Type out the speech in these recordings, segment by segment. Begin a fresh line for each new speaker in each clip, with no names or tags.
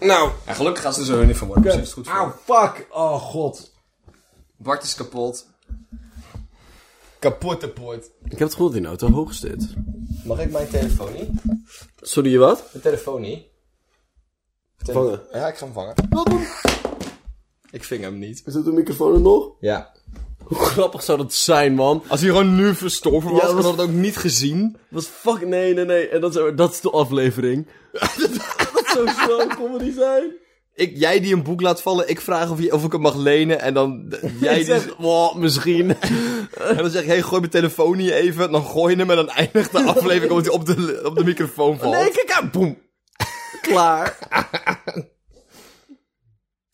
Nou,
Ja, gelukkig gaan ze er zo niet van worden.
Kut.
Precies, dus is goed voor.
Auw, fuck. Oh, god.
Bart is kapot.
Kapotte poort.
ik heb het gevoel dat die noot te hoog is dit.
Mag ik mijn telefoon niet?
Sorry, je wat?
Mijn telefoon niet? Tele-
Vangen.
Ja, ik ga hem vangen. Ik ving hem niet.
Is dat de microfoon er nog?
Ja.
Hoe grappig zou dat zijn, man?
Als hij gewoon nu verstorven was,
Ja,
dan
was-
hadden we het ook niet gezien.
Wat fuck, nee, nee, nee. En dat is, dat is de aflevering. dat zou zo'n comedy zijn.
Ik, jij die een boek laat vallen, ik vraag of, je, of ik het mag lenen. En dan jij die
zegt, "Wow, misschien.
En dan zeg ik, hey, gooi mijn telefoon hier even. Dan gooi je hem en dan eindigt de aflevering omdat hij op de, op de microfoon valt.
Nee, kijk aan, boem. Klaar.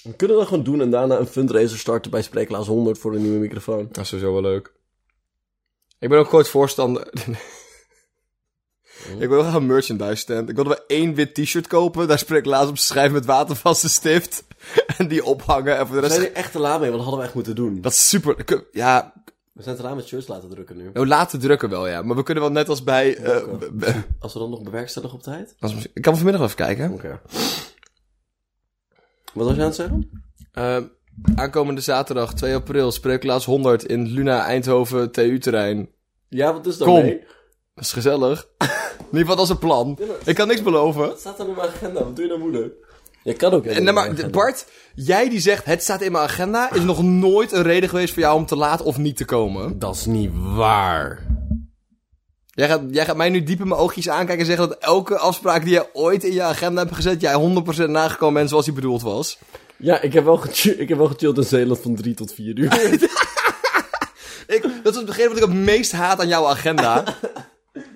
We kunnen dat gewoon doen en daarna een fundraiser starten bij Spreeklaas 100 voor een nieuwe microfoon.
Dat is sowieso wel leuk. Ik ben ook groot voorstander. ik wil wel graag een merchandise stand. Ik wilde wel één wit t-shirt kopen. Daar spreek ik laatst op schrijf met watervaste stift. en die ophangen. En voor de
We
rest...
zijn er echt te laat mee, want dat hadden we echt moeten doen.
Dat is super. Ja,
We zijn te laat met shirts laten drukken nu.
nou, laten drukken wel, ja. Maar we kunnen wel net als bij... eh, b- b-
Als we dan nog bewerkstelligen op tijd.
als- ik kan vanmiddag wel even kijken.
Oké. Wat was je aan het zeggen?
Eh, aankomende zaterdag, 2 april, Spreeklaas 100 in Luna Eindhoven TU-terrein.
Ja, wat is dat
Kom.
mee?
Dat is gezellig. In ieder geval, dat is een plan. Ik kan niks beloven.
Wat staat er in mijn agenda? Wat doe je nou moeder? Je kan ook.
En, nou, maar de- Bart, jij die zegt het staat in mijn agenda, is nog nooit een reden geweest voor jou om te laat of niet te komen.
Dat is niet waar.
Jij gaat, jij gaat mij nu diep in mijn oogjes aankijken en zeggen dat elke afspraak die jij ooit in je agenda hebt gezet, jij 100% nagekomen bent zoals die bedoeld was.
Ja, ik heb wel, gechi- ik heb wel gechilled in Zeeland van 3 tot 4 uur.
Ik, dat is hetgeen wat ik het meest haat aan jouw agenda.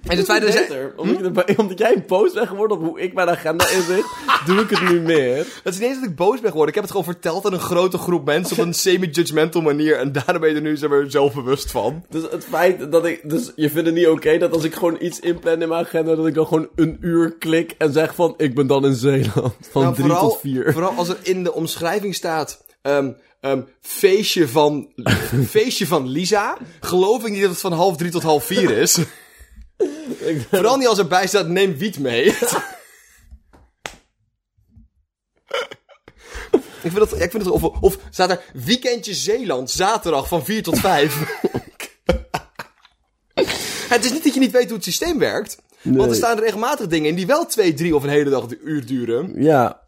en het feit dat jij-
omdat, ik erbij- omdat jij een post bent geworden op hoe ik mijn agenda inricht, doe ik het nu meer.
Het is niet eens dat ik boos ben geworden. Ik heb het gewoon verteld aan een grote groep mensen op een semi-judgmental manier. En daarom ben je er nu zeg maar, zelf bewust van.
Dus het feit dat ik... Dus je vindt het niet oké dat als ik gewoon iets inplan in mijn agenda, dat ik dan gewoon een uur klik en zeg van, ik ben dan in Zeeland. Van 3
Nou, vooral,
tot 4.
Vooral als er in de omschrijving staat... ehm, ehm, feestje, van, feestje van Lisa. Geloof ik niet dat het van half drie tot half vier is. Vooral niet als erbij staat neem wiet mee. ik vind dat... ja, Ik vind dat of, of staat er weekendje Zeeland, zaterdag van vier tot vijf. Het is niet dat je niet weet hoe het systeem werkt. Want er
Nee.
staan er regelmatig dingen in die wel twee, drie of een hele dag de uur duren.
Ja,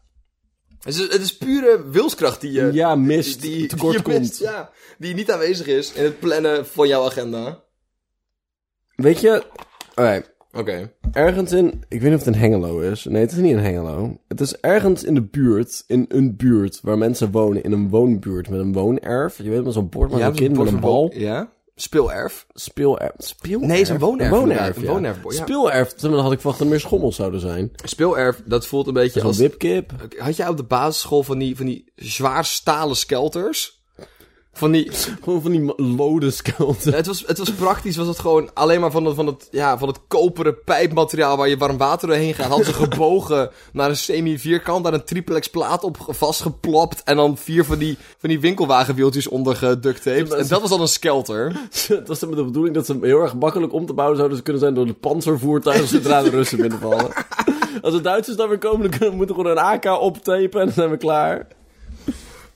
Het is, het is pure wilskracht die je,
ja, mist.
die, die
tekort
je
komt.
mist, ja, die niet aanwezig is in het plannen van jouw agenda.
Weet je... Oké.
Oké.
ergens in. Ik weet niet of het in Hengelo is. Nee, het is niet in Hengelo. Het is ergens in de buurt. In een buurt waar mensen wonen. In een woonbuurt met een woonerf. Je weet wel zo'n bord met een kind met een bal.
Ja. Speelerf.
Speelerf. Speelerf?
Nee, het is een woonerf, inderdaad. Een
ja.
woonerfbord, ja.
Speelerf. Dan had ik verwacht dat er meer schommels zouden zijn.
Speelerf, dat voelt een beetje
Zo'n
als...
wipkip.
Had jij op de basisschool van die, van die zwaar stalen skelters? Van die...
Gewoon van die ma- lode skelten.
Het was, het was praktisch, was het gewoon alleen maar van het, van het, ja, van het koperen pijpmateriaal waar je warm water doorheen gaat. Hadden ze gebogen naar een semi-vierkant, daar een triplex plaat op ge- vastgeplapt. En dan vier van die, van die winkelwagenwieltjes onder geducttaped. En dat was dan een skelter.
Het was dan met de bedoeling dat ze hem heel erg makkelijk om te bouwen zouden ze kunnen zijn door de panzervoertuigen zodra de Russen binnenvallen. Als de Duitsers daar weer komen, dan kunnen- moeten we gewoon een AK optapen en dan zijn we klaar.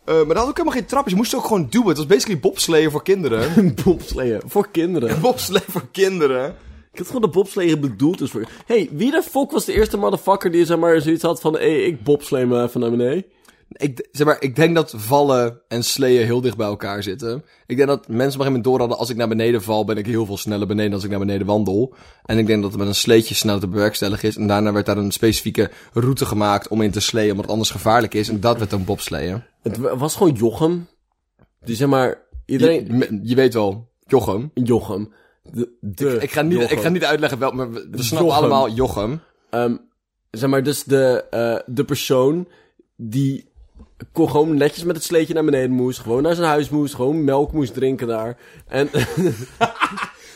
Eh, maar dat had ook helemaal geen trapjes. Je moest ook gewoon duwen. Het was basically bobsleeën voor kinderen.
Een bobsleeën. Voor kinderen.
bobsleeën voor kinderen.
Ik had gewoon dat bobsleeën bedoeld is voor... hey, wie de fok was de eerste motherfucker die zeg maar zoiets had van... Hé, hey, ik bobslee me even naar beneden.
Ik, d- zeg maar, ik denk dat vallen en sleeën heel dicht bij elkaar zitten. Ik denk dat mensen op een gegeven moment door hadden... als ik naar beneden val, ben ik heel veel sneller beneden... dan als ik naar beneden wandel. En ik denk dat het met een sleetje sneller te bewerkstelligen is. En daarna werd daar een specifieke route gemaakt om in te sleeën... omdat het anders gevaarlijk is. En dat werd dan bobsleeën.
Het wa- was gewoon Jochem. Die zeg maar... Iedereen...
Je, me- je weet wel, Jochem.
Jochem. De, de
Ik ga niet, ik
Jochem.
ga niet uitleggen wel, maar we, we snappen
Jochem.
allemaal Jochem.
Ehm, zeg maar, dus de, eh, de persoon die kon gewoon netjes met het sleetje naar beneden moest. Gewoon naar zijn huis moest. Gewoon melk moest drinken daar. En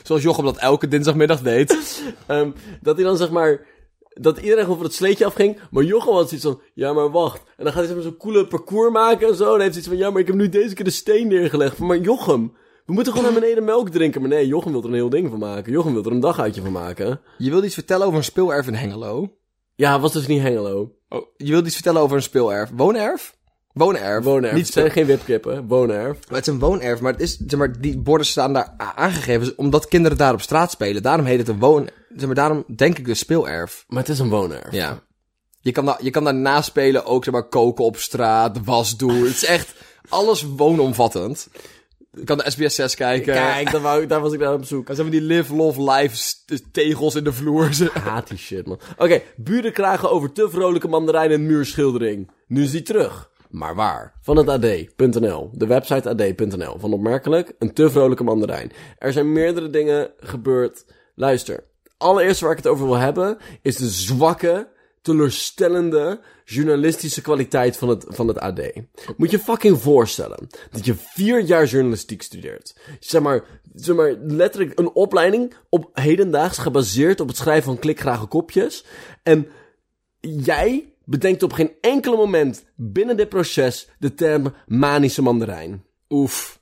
Zoals Jochem dat elke dinsdagmiddag deed.
ehm, dat hij dan zeg maar... Dat iedereen over het sleetje afging. Maar Jochem had zoiets van... Ja, maar wacht. En dan gaat hij zeg maar, zo'n coole parcours maken en zo. En dan heeft hij iets van... Ja, maar ik heb nu deze keer de steen neergelegd. Maar Jochem... We moeten gewoon naar beneden melk drinken. Maar nee, Jochem wil er een heel ding van maken. Jochem wil er een dag uitje van maken.
Je wilde iets vertellen over een speelerf in Hengelo.
Ja, was dus niet Hengelo.
Oh, je wilt iets vertellen over een speelerf. Woonerf? Woonerf.
Woonerf.
Niet
het zijn
speel...
geen wipkippen. Woonerf.
Maar het is een woonerf, maar, het is, zeg maar die borden staan daar a- aangegeven omdat kinderen daar op straat spelen. Daarom heet het een woon... Zeg maar, daarom denk ik dus speelerf.
Maar het is een woonerf.
Ja. Je kan, daar, je kan daarna spelen ook, zeg maar, koken op straat, was doen. Het is echt alles woonomvattend. Je kan de SBS 6 kijken.
Kijk, daar, wou ik- daar was ik naar op zoek.
Dan zijn we die live, love, life st- tegels in de vloer. zeg.
Ik haat die shit, man. Oké, buren kragen over te vrolijke mandarijn en muurschildering. Nu is die terug. Maar waar? Van het AD.nl. De website AD.nl. Van opmerkelijk, een te vrolijke mandarijn. Er zijn meerdere dingen gebeurd. Luister. Allereerst waar ik het over wil hebben, is de zwakke, teleurstellende journalistische kwaliteit van het, van het AD. Moet je fucking voorstellen dat je vier jaar journalistiek studeert. Zeg maar, zeg maar letterlijk een opleiding op hedendaags gebaseerd op het schrijven van klikgrage kopjes. En jij bedenkt op geen enkel moment binnen dit proces de term manische mandarijn.
Oef.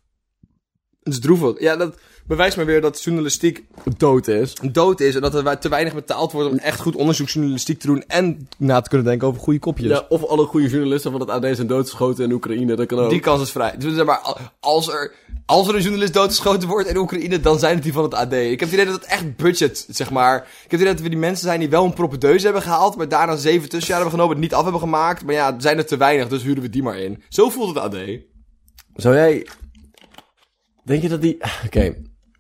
Het is droevig. Ja, dat bewijst me weer dat journalistiek
Dood is.
dood is. En dat er te weinig betaald wordt om echt goed onderzoeksjournalistiek te doen. En na te kunnen denken over goede kopjes.
Ja, of alle goede journalisten van het AD zijn doodgeschoten in Oekraïne, dat kan ook.
Die kans is vrij. Dus zeg maar, al- als er, als er een journalist doodgeschoten wordt in Oekraïne, dan zijn het die van het AD. Ik heb het idee dat het echt budget, zeg maar. Ik heb het idee dat we die mensen zijn die wel een propedeuse hebben gehaald, maar daarna zeven tussenjaren hebben genomen, het niet af hebben gemaakt. Maar ja, zijn er te weinig, dus huren we die maar in. Zo voelt het AD.
Zou jij... Denk je dat die... Oké.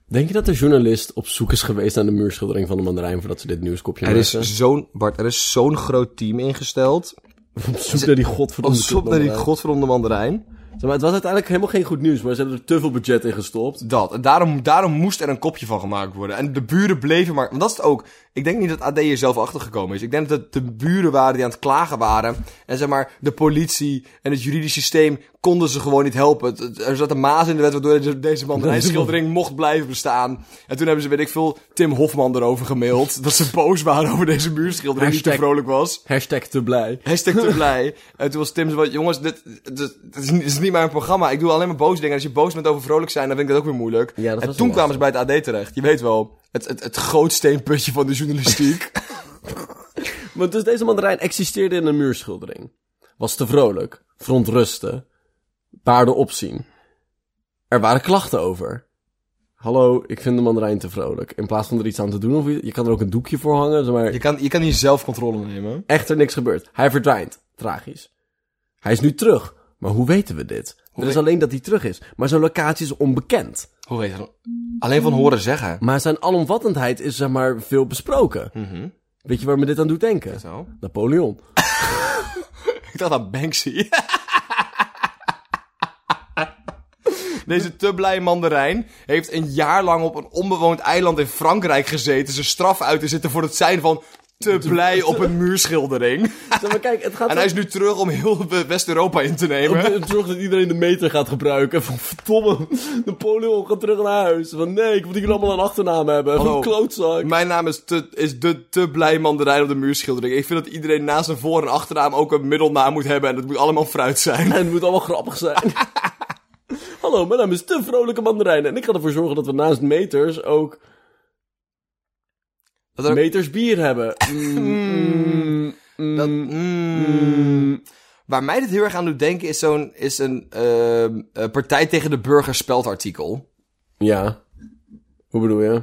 Denk je dat de journalist op zoek is geweest naar de muurschildering van de mandarijn voordat ze dit nieuwskopje
Er is
maakten?
zo'n, Bart, er is zo'n groot team ingesteld.
Op zoek naar die godverdomme
Op naar die
kutmandarijn.
godverdomde mandarijn.
Zeg maar, het was uiteindelijk helemaal geen goed nieuws, maar ze hebben er te veel budget in gestopt.
Dat. En daarom, daarom moest er een kopje van gemaakt worden. En de buren bleven maar... Want dat is het ook. Ik denk niet dat AD hier zelf achtergekomen is. Ik denk dat het de buren waren die aan het klagen waren. En zeg maar, de politie en het juridisch systeem konden ze gewoon niet helpen. Het- het- Er zat een maas in de wet waardoor deze- deze mandarijnschildering mocht blijven bestaan. En toen hebben ze, weet ik veel, Tim Hofman erover gemaild. Dat ze boos waren over deze muurschildering die te
Hashtag-
vrolijk was.
Hashtag te blij.
Hashtag te blij. En toen was Tim zo van, jongens, dit, dit, dit is, niet- dit is niet mijn programma. Ik doe alleen maar boze dingen. En als je boos bent over vrolijk zijn, dan vind ik dat ook weer moeilijk.
Ja, dat
en
was
toen
wel
kwamen ze bij het AD terecht. Je weet wel, het, het, het grootsteenputje van de journalistiek.
Maar dus deze mandarijn existeerde in een muurschildering. Was te vrolijk, verontrusten, paarden opzien. Er waren klachten over. Hallo, ik vind de mandarijn te vrolijk. In plaats van er iets aan te doen, of je, je kan er ook een doekje voor hangen, zeg maar
je, kan, je kan hier zelf controle nemen.
echter niks gebeurd. Hij verdwijnt. Tragisch. Hij is nu terug. Maar hoe weten we dit? er is
weet-
alleen dat hij terug is. Maar zijn locatie is onbekend.
Hoe heet dat? Alleen van horen zeggen.
Maar zijn alomvattendheid is zeg maar veel besproken. Weet je waar me dit aan doet denken?
Zo.
Napoleon.
Ik dacht aan Banksy. Deze te blij mandarijn heeft een jaar lang op een onbewoond eiland in Frankrijk gezeten. Zijn straf uit te zitten voor het zijn van te blij op een muurschildering.
Zeg maar, kijk, het gaat
En hij is nu terug om heel West-Europa in te nemen.
om te zorgen dat iedereen de meter gaat gebruiken. Van verdomme, Napoleon gaat terug naar huis. Van nee, ik moet hier allemaal een achternaam hebben. Van
Hallo.
klootzak.
Mijn naam is, te, is de te blij mandarijn op de muurschildering. Ik vind dat iedereen naast zijn voor- en achternaam ook een middelnaam moet hebben. En dat moet allemaal fruit zijn.
En het moet allemaal grappig zijn. Hallo, mijn naam is Te Vrolijke Mandarijn. En ik ga ervoor zorgen dat we naast meters ook...
Dat er ook-
Meters bier hebben. Mm, mm,
Dat,
mm.
mm. Waar mij dit heel erg aan doet denken is zo'n is een ehm, eh, partij tegen de burger speldartikel.
Ja. Hoe bedoel je?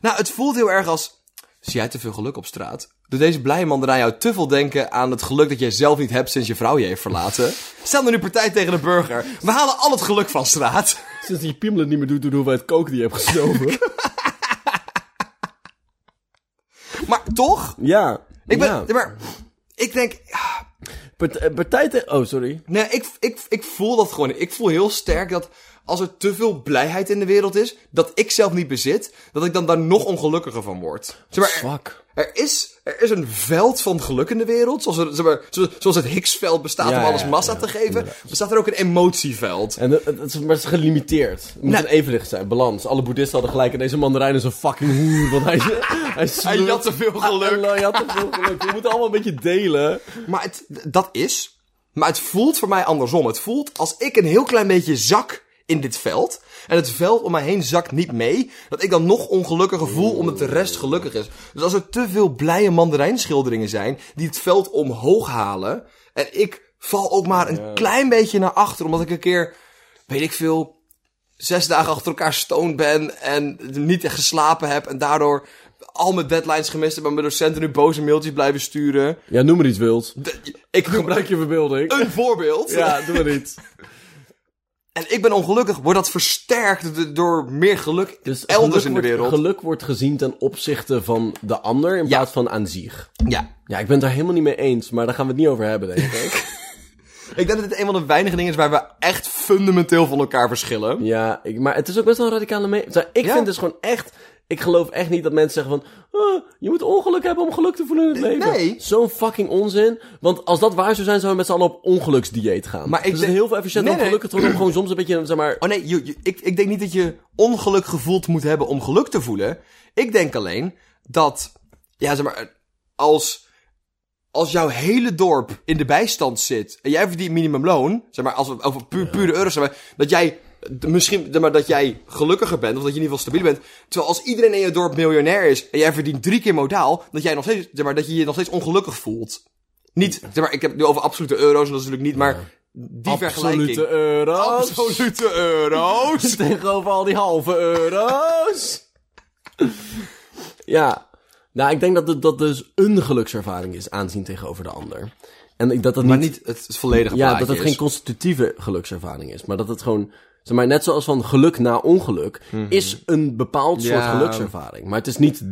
Nou, het voelt heel erg als zie jij te veel geluk op straat. Doet deze blije mandarijn jou te veel denken aan het geluk dat jij zelf niet hebt sinds je vrouw je heeft verlaten? Stel nou nu partij tegen de burger. We halen al het geluk van straat.
Sinds die piemel het niet meer doet door de hoeveelheid kook die je hebt gestoven.
Maar toch?
ja.
Ik ben,
Ja.
maar, ik denk,
Part- eh, partij te- Oh, sorry.
Nee, ik, ik, ik voel dat gewoon. Ik voel heel sterk dat als er te veel blijheid in de wereld is, dat ik zelf niet bezit, dat ik dan daar nog ongelukkiger van word. Zeg maar, er-
Fuck.
er, is, er is een veld van geluk in de wereld. Zoals, er- zeg maar, zo- zoals het Higgsveld bestaat
Ja,
om alles
ja,
massa
ja,
te geven, bestaat er ook een emotieveld.
En het, het is, maar het is gelimiteerd. Het moet
Nou-
een evenwicht zijn, balans. Alle boeddhisten hadden gelijk. En deze mandarijn is een fucking hoer. Want hij, hij,
Hij
slurpt-
had te veel geluk.
Hij had te veel geluk. We moeten allemaal een beetje delen.
Maar het, dat is. Maar het voelt voor mij andersom. Het voelt als ik een heel klein beetje zak in dit veld. En het veld om mij heen zakt niet mee. Dat ik dan nog ongelukkiger voel omdat de rest gelukkig is. Dus als er te veel blije mandarijnschilderingen zijn die het veld omhoog halen. En ik val ook maar een klein beetje naar achter omdat ik een keer, weet ik veel, zes dagen achter elkaar stoned ben en niet echt geslapen heb. En daardoor al mijn deadlines gemist heb en mijn docenten nu boze mailtjes blijven sturen.
Ja, noem maar iets wild.
De- ik noem
Gebruik je verbeelding.
een voorbeeld.
Ja, doe maar niet.
En ik ben ongelukkig, wordt dat versterkt d- door meer geluk Dus elders in de
wordt-
wereld.
Dus Geluk wordt gezien ten opzichte van de ander in plaats van aan zich.
Ja.
Ja, ik ben het daar helemaal niet mee eens, maar daar gaan we het niet over hebben, denk ik.
Ik denk dat dit een van de weinige dingen is waar we echt fundamenteel van elkaar verschillen.
ja, ik, maar het is ook best wel een radicale mening. Ik
Ja.
vind dus gewoon echt... Ik geloof echt niet dat mensen zeggen van... "Ah, je moet ongeluk hebben om geluk te voelen in het leven.
Nee.
Zo'n fucking onzin. Want als dat waar zou zijn, zouden we met z'n allen op ongeluksdieet gaan.
Maar ik
dus het is
denk-
heel veel efficiënter
Nee,
om
nee.
gelukkig te worden... om gewoon soms een beetje, zeg maar...
Oh nee, je- je- ik, ik denk niet dat je ongeluk gevoeld moet hebben om geluk te voelen. Ik denk alleen dat, ja zeg maar, als, als jouw hele dorp in de bijstand zit en jij verdient minimumloon, zeg maar, als we over pu pure euro's hebben, dat jij d- misschien, zeg maar, dat jij gelukkiger bent of dat je in ieder geval stabiel bent. Terwijl als iedereen in je dorp miljonair is en jij verdient drie keer modaal, dat jij nog steeds, zeg maar, dat je je nog steeds ongelukkig voelt. Niet, zeg maar, ik heb het nu over absolute euro's en dat is natuurlijk niet, maar die vergelijking.
Absolute euro's.
Absolute euro's.
tegenover al die halve euro's. ja. Nou, ik denk dat het, dat dus een gelukservaring is aanzien tegenover de ander. En ik- dat dat
Maar
niet,
niet het, het volledige
ja,
plaatje
dat het
is.
geen constitutieve gelukservaring is. Maar dat het gewoon, zeg maar, net zoals van geluk na ongeluk, is een bepaald soort
Mhm. Ja.
gelukservaring. Maar het is niet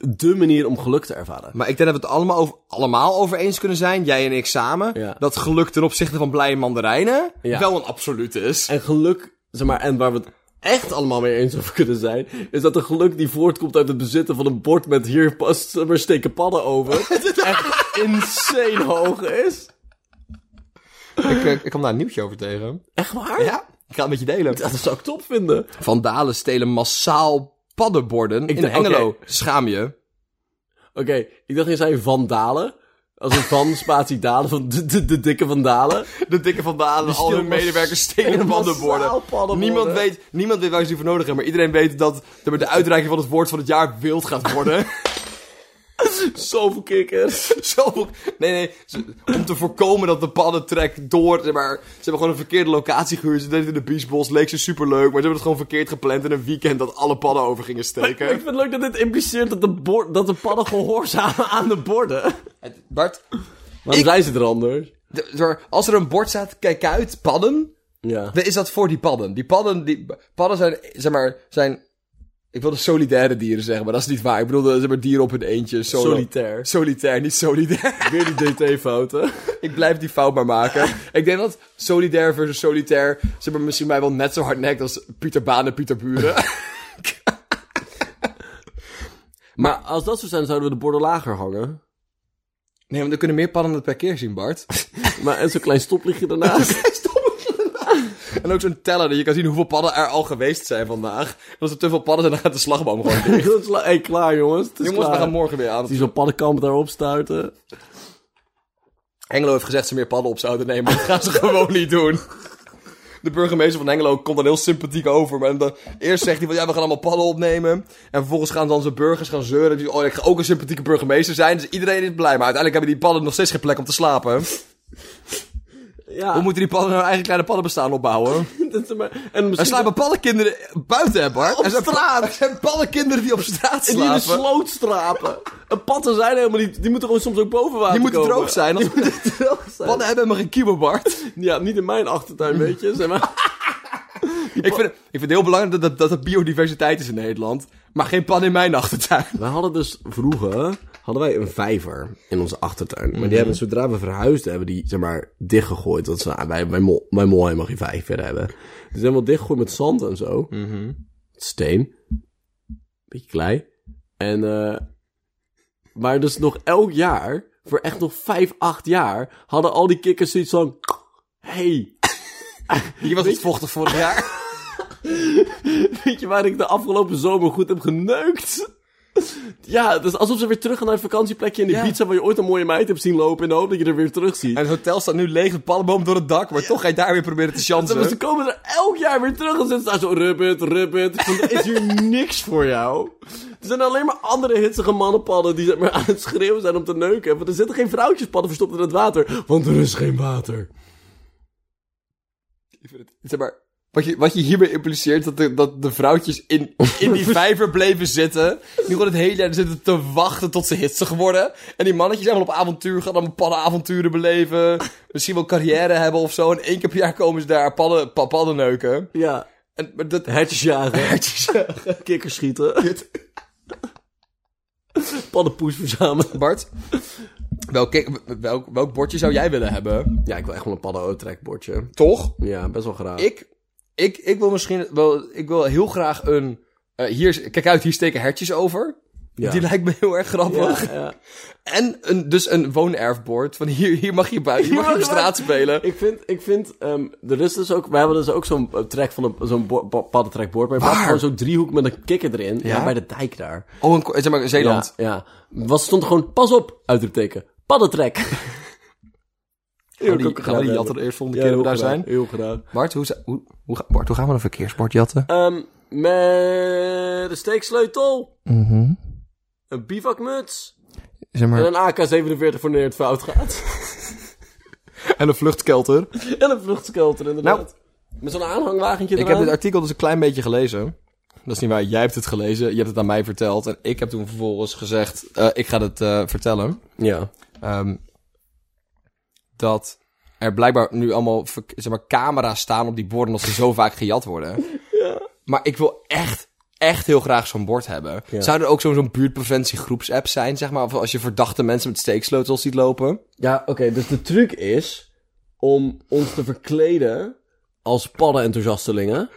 de manier om geluk te ervaren.
Maar ik denk dat we het allemaal over, allemaal over eens kunnen zijn, jij en ik samen,
Ja.
dat geluk ten opzichte van blije mandarijnen
Ja.
wel een absoluut is.
En geluk, zeg maar, en waar we het echt allemaal mee eens over kunnen zijn, is dat een geluk die voortkomt uit het bezitten van een bord met hier past, zeg maar steken padden over, echt insane hoog is.
Ik, eh, ik kwam daar een nieuwtje over tegen.
Echt waar?
Ja, ik ga het met je delen.
Dat zou ik top vinden.
Vandalen stelen massaal paddenborden in
denk-
Engelo. Schaam je.
Oké, ik dacht je zei vandalen. Als een van spatie dalen, van de, de, de dikke vandalen.
De dikke Vandalen, al hun
stelen mas-
medewerkers stelen
stelen
paddenborden.
massaal paddenborden.
Niemand weet, niemand weet waar ze die voor nodig hebben, maar iedereen weet dat zeg maar, de uitreiking van het woord van het jaar wild gaat worden.
Zoveel kikkers.
Zoveel... Nee, nee. ze- Om te voorkomen dat de paddentrek door... Zeg maar, ze hebben gewoon een verkeerde locatie gehuurd. Ze deden het in de Beachbos. Leek ze superleuk. Maar ze hebben het gewoon verkeerd gepland in een weekend... dat alle padden over gingen
Ik
steken.
vind het leuk dat dit impliceert dat de, bord, dat de padden gehoorzamen aan de borden.
Bart,
Maar
Ik-
zijn ze er anders?
d- door- als er een bord staat... Kijk uit, padden.
Ja.
Dan is dat voor die padden. Die padden, die, padden zijn, zeg maar, zijn... Ik wilde solidaire dieren zeggen, maar dat is niet waar. Ik bedoelde zeg maar, dieren op hun eentje. solo.
Solitair.
Solitair, niet solidair.
Weer die DT-fouten.
Ik blijf die fout maar maken. Ik denk dat solidair versus solitair... ze hebben misschien mij wel net zo hardnekt als Pieter Baan en Pieter Buren.
Maar als dat zo zijn, zouden we de borden lager hangen.
Nee, want er kunnen meer padden het per keer zien, Bart.
Maar en zo'n klein stoplichtje daarnaast.
en ook zo'n teller, dat je kan zien hoeveel padden er al geweest zijn vandaag. En als er te veel padden zijn, dan gaat de slagboom gewoon dicht.
Dat is la- hey, klaar jongens. Het is
Jongens, we
klaar.
gaan morgen weer aan.
Die zo'n paddenkamp daarop stuiten.
Engelo heeft gezegd ze meer padden op zouden nemen, maar dat gaan ze gewoon niet doen. De burgemeester van Engelo komt dan heel sympathiek over. Maar dan, eerst zegt hij van ja, we gaan allemaal padden opnemen. En vervolgens gaan dan zijn burgers gaan zeuren. Die, oh, ik ga ook een sympathieke burgemeester zijn. Dus iedereen is blij. Maar uiteindelijk hebben die padden nog steeds geen plek om te slapen.
Ja.
Hoe moeten die padden nou eigen kleine paddenbestaan opbouwen?
dat is maar... En
Er
misschien...
slapen paddenkinderen buiten, hè Bart? Er zijn, pa- er zijn paddenkinderen die op straat
die in de
slapen.
sloot strapen. En patten zijn helemaal niet... Die moeten gewoon soms ook boven water
Die moeten
komen.
droog zijn. Als
droog zijn.
padden hebben maar geen kiebel, Bart.
Ja, niet in mijn achtertuin, weet je. Zeg maar.
Ik vind, ik vind het heel belangrijk dat, dat, dat er biodiversiteit is in Nederland. Maar geen pan in mijn achtertuin.
Wij hadden dus vroeger hadden wij een vijver in onze achtertuin. Maar die hebben, zodra we verhuisden, hebben die, zeg maar, dichtgegooid. Want ze, ah, bij, bij, mol, bij mol helemaal geen vijver hebben. Dus ze hebben wel dichtgegooid met zand en zo. Steen. Beetje klei. En, eh, maar dus nog elk jaar, voor echt nog vijf, acht jaar, hadden al die kikkers zoiets van... Hey,
Hier was het vochtig vorig jaar.
weet je waar ik de afgelopen zomer goed heb geneukt? Ja, het is alsof ze weer terug gaan naar het vakantieplekje in de pizza waar je ooit een mooie meid hebt zien lopen in de hoop dat je er weer terug ziet.
En het hotel staat nu leeg, de palmboom door het dak, maar toch ga je daar weer proberen te
Ze- maar Dus ze
chansen.
komen er elk jaar weer terug en zitten daar zo rubbet, rubbet. Van, er is hier niks voor jou. Er zijn alleen maar andere hitsige mannenpadden die zeg maar, aan het schreeuwen zijn om te neuken. Want er zitten geen vrouwtjespadden verstopt in het water. Want er is geen water.
Zeg maar, wat je, wat je hiermee impliceert, dat de, dat de vrouwtjes in, in die vijver bleven zitten. Nu gewoon het hele jaar zitten te wachten tot ze hitsig worden. En die mannetjes zijn wel op avontuur, gaan dan paddenavonturen beleven. Misschien wel carrière hebben of zo. En één keer per jaar komen ze daar padden, pa- padden neuken.
Ja,
En, maar dat...
hertjes jagen, kikkers schieten, paddenpoes verzamelen.
Bart, welk, welk, welk bordje zou jij willen hebben?
Ja, ik wil echt wel een padden-o-trekbordje.
Toch?
Ja, best wel graag.
Ik, ik, ik wil misschien wel, ik wil heel graag een. eh, hier, is- kijk uit, hier steken hertjes over.
Ja.
Die lijkt me heel erg
ja,
grappig.
ja.
En een, dus een woonerfbord. Van hier, hier mag je buiten, hier mag je op
mag je
straat spelen.
Ik vind, ik vind ehm, er is dus ook, wij hebben dus ook zo'n eh, trek van een, zo'n bo- bo- paddentrekboord, maar je
Waar?
pakt gewoon zo'n driehoek met een kikker erin, ja?
Ja?
bij de dijk daar.
Oh, een, ko- zeg maar, in Zeeland.
Ja, ja. Was stond gewoon, pas op, uitroepteken, paddentrek.
Gaan we die, gaan we die jatten eerst volgende keer dat we daar zijn?
Heel graag.
Bart hoe, zou- hoe, hoe, ga- Bart, hoe gaan we een verkeersbord jatten?
Ehm, met de steeksleutel,
Mhm.
een bivakmuts
Zeg
en
maar,
een AK-47 voor wanneer het fout gaat.
en een vluchtkelter.
en een vluchtskelter inderdaad. Met zo'n aanhangwagentje
Nou. Ik heb
eraan.
dit artikel dus een klein beetje gelezen. Dat is niet waar, jij hebt het gelezen. Je hebt het aan mij verteld. En ik heb toen vervolgens gezegd, eh, ik ga het eh, vertellen.
Ja.
Ehm, dat er blijkbaar nu allemaal verk- zeg maar, camera's staan op die borden als ze zo vaak gejat worden. Maar ik wil echt, echt heel graag zo'n bord hebben. Zou er ook zo'n zo'n buurtpreventie groepsapp zijn, zeg maar? Of als je verdachte mensen met steeksleutels ziet lopen?
Ja, oké, dus de truc is om ons te verkleden als paddenenthousiastelingen.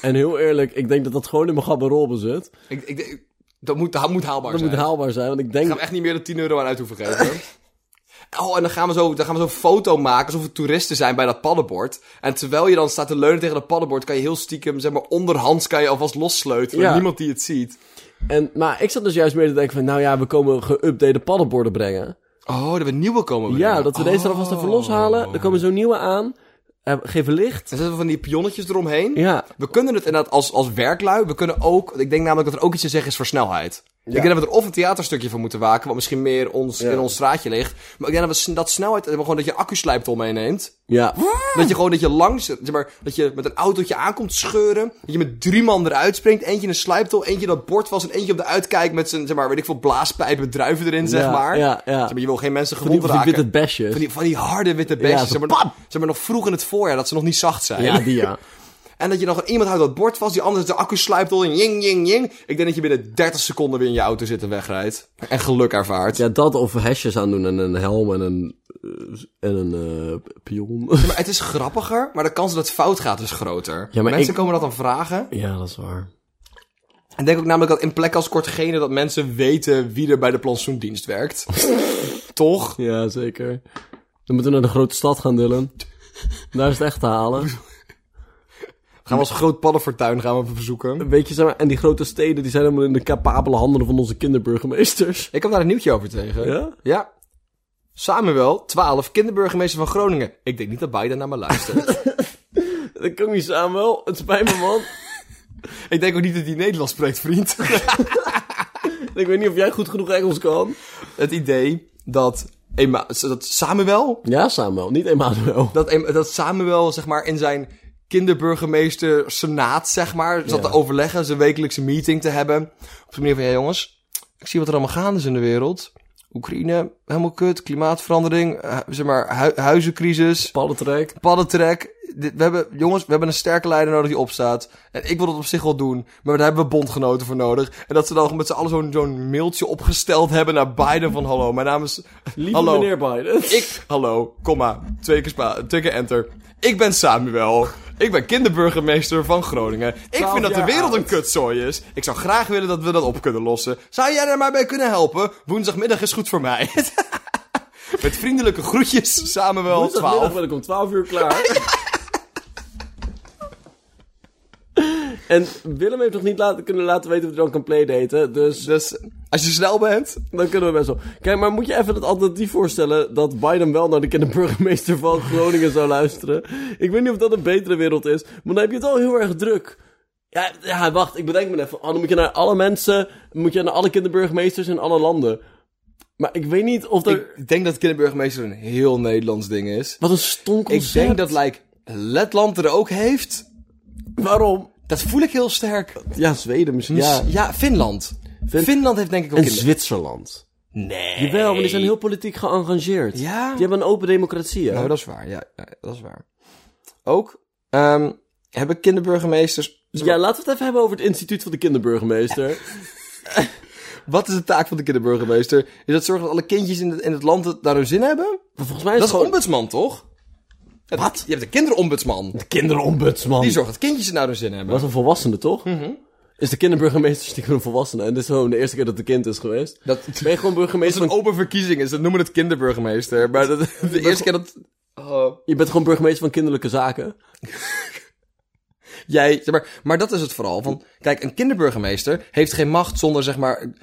en heel eerlijk, ik denk dat dat gewoon in mijn gabberol zit.
Ik, ik, ik- dat, moet, dat moet haalbaar
Dat
zijn.
moet haalbaar zijn, want ik denk...
Ik ga hem echt niet meer dan 10 euro aan uit hoeven geven. Oh, en dan gaan we zo- dan gaan we zo'n foto maken alsof we toeristen zijn bij dat paddenbord. En terwijl je dan staat te leunen tegen dat paddenbord, kan je heel stiekem, zeg maar, onderhands kan je alvast lossleutelen.
Ja.
Niemand die het ziet.
En, maar ik zat dus juist meer te denken van, nou ja, we komen geüpdate paddenborden brengen.
Oh, dat we nieuwe komen brengen. Oh.
Ja, dat we deze er alvast even loshalen. Er komen zo'n nieuwe aan. Eh, geven licht.
Dan zetten we van die pionnetjes eromheen.
Ja.
We kunnen het inderdaad als, als werklui, we kunnen ook... Ik denk namelijk dat er ook iets te zeggen is voor snelheid. Ik denk dat we er of een theaterstukje van moeten waken, wat misschien meer ons, in ons straatje ligt. Maar ik denk dat we sn- dat snelheid, dat we gewoon dat je accuslijptol meeneemt.
Ja.
Dat je gewoon dat je langs, zeg maar, dat je met een autootje aankomt scheuren. Dat je met drie man eruit springt. Eentje in een slijptol, eentje dat bord was en eentje op de uitkijk met zijn, zeg maar, weet ik veel, blaaspijpen met druiven erin, zeg
Ja,
maar.
ja, ja.
Zeg maar, je wil geen mensen
Die,
gewond
die
raken.
witte besjes.
Van die, van die harde witte besjes.
Ja, zo
zeg, maar,
pam!
nog, zeg maar nog vroeg in het voorjaar, dat ze nog niet zacht zijn.
Ja, die ja.
En dat je nog iemand houdt dat bord vast, die andere de accu slijptol in, jing, jing, jing. Ik denk dat je binnen 30 seconden weer in je auto zit en wegrijdt. En geluk ervaart.
Ja, dat of hesjes aandoen en een helm en een, eh, en een eh, pion.
Maar het is grappiger, maar de kans dat het fout gaat is groter.
Ja, maar
Mensen
ik-
komen dat dan vragen.
ja, dat is waar.
Ik denk ook namelijk dat in plekken als Kortgene dat mensen weten wie er bij de plantsoendienst werkt. Toch?
Ja, zeker. Dan moeten we naar de grote stad gaan, Dylan. Daar is het echt te halen.
Gaan we als groot paddenfortuin gaan we even bezoeken.
Weet je, zeg maar, en die grote steden die zijn helemaal in de capabele handen van onze kinderburgemeesters.
Ik heb daar een nieuwtje over tegen.
Ja?
Ja. Samuel, 12, kinderburgemeester van Groningen. Ik denk niet dat Biden naar me luistert.
Dat kan niet samen wel. Het spijt me, man.
ik denk ook niet dat hij Nederlands spreekt, vriend.
Ik weet niet of jij goed genoeg Engels kan.
het idee dat, Ema- dat Samuel...
Ja, Samuel. Niet Emmanuel.
Dat, Em- dat Samuel, zeg maar, in zijn kinderburgemeester senaat, zeg maar, zat
Ja.
te overleggen, zijn wekelijkse meeting te hebben. Op de manier van, ja jongens, ik zie wat er allemaal gaande is in de wereld. Oekraïne, helemaal kut, klimaatverandering, eh, zeg maar, hu- huizencrisis,
Paddentrek.
paddentrek. Dit, we hebben, jongens, we hebben een sterke leider nodig die opstaat. En ik wil dat op zich wel doen, maar daar hebben we bondgenoten voor nodig. En dat ze dan met z'n allen zo'n zo'n mailtje opgesteld hebben naar Biden van, hallo, mijn naam is...
Lieve
hallo,
meneer Biden.
ik, hallo, komma, twee keer, spa, twee keer enter. Ik ben Samuel. Ik ben kinderburgemeester van Groningen. Ik
Twaalf
vind dat de
jaar
wereld een
oud.
kutzooi is. Ik zou graag willen dat we dat op kunnen lossen. Zou jij daar maar bij kunnen helpen? Woensdagmiddag is goed voor mij. Met vriendelijke groetjes, Samuel
Woensdagmiddag
12.
ben ik om 12 uur klaar. En Willem heeft nog niet laten, kunnen laten weten of hij dan kan playdaten. Dus
Dus als je snel bent...
dan kunnen we best wel. Kijk, maar moet je even het alternatief voorstellen dat Biden wel naar de kinderburgemeester van Groningen zou luisteren? Ik weet niet of dat een betere wereld is, maar dan heb je het al heel erg druk. Ja, ja wacht, ik bedenk me even. Oh, dan moet je naar alle mensen, moet je naar alle kinderburgemeesters in alle landen. Maar ik weet niet of er...
Ik denk dat kinderburgemeester een heel Nederlands ding is.
Wat een stom
Ik
concept.
denk dat like, Letland er ook heeft.
Waarom?
Dat voel ik heel sterk.
Ja, Zweden misschien.
Ja,
Ja.
ja Finland. Finland heeft denk ik ook
En
kinder-
Zwitserland.
Nee.
Jawel, maar die zijn heel politiek geëngageerd.
Ja?
Die hebben een open democratie, hè?
Nou, dat is waar. Ja, ja, dat is waar. Ook ehm, hebben kinderburgemeesters...
Ja, laten we het even hebben over het instituut van de kinderburgemeester.
Wat is de taak van de kinderburgemeester? Is dat zorgen dat alle kindjes in het, in het land het naar hun zin hebben?
Maar volgens mij is
Dat is
het
een
gewoon...
ombudsman, toch? Wat? Je hebt een kinderombudsman.
De kinderombudsman.
Die zorgt dat kindjes het naar hun zin
Dat
hebben.
is een volwassene, toch?
Mhm.
Is de kinderburgemeester stiekem een volwassene? En dit is gewoon de eerste keer dat het kind is geweest.
Dat,
Ben je gewoon
Als
burgemeester
het een
van...
open verkiezing is, dan noemen we het kinderburgemeester. Maar dat, de eerste keer dat... Oh.
Je bent gewoon burgemeester van kinderlijke zaken.
Jij, zeg maar, maar dat is het vooral. Van, kijk, een kinderburgemeester heeft geen macht zonder, zeg maar, een-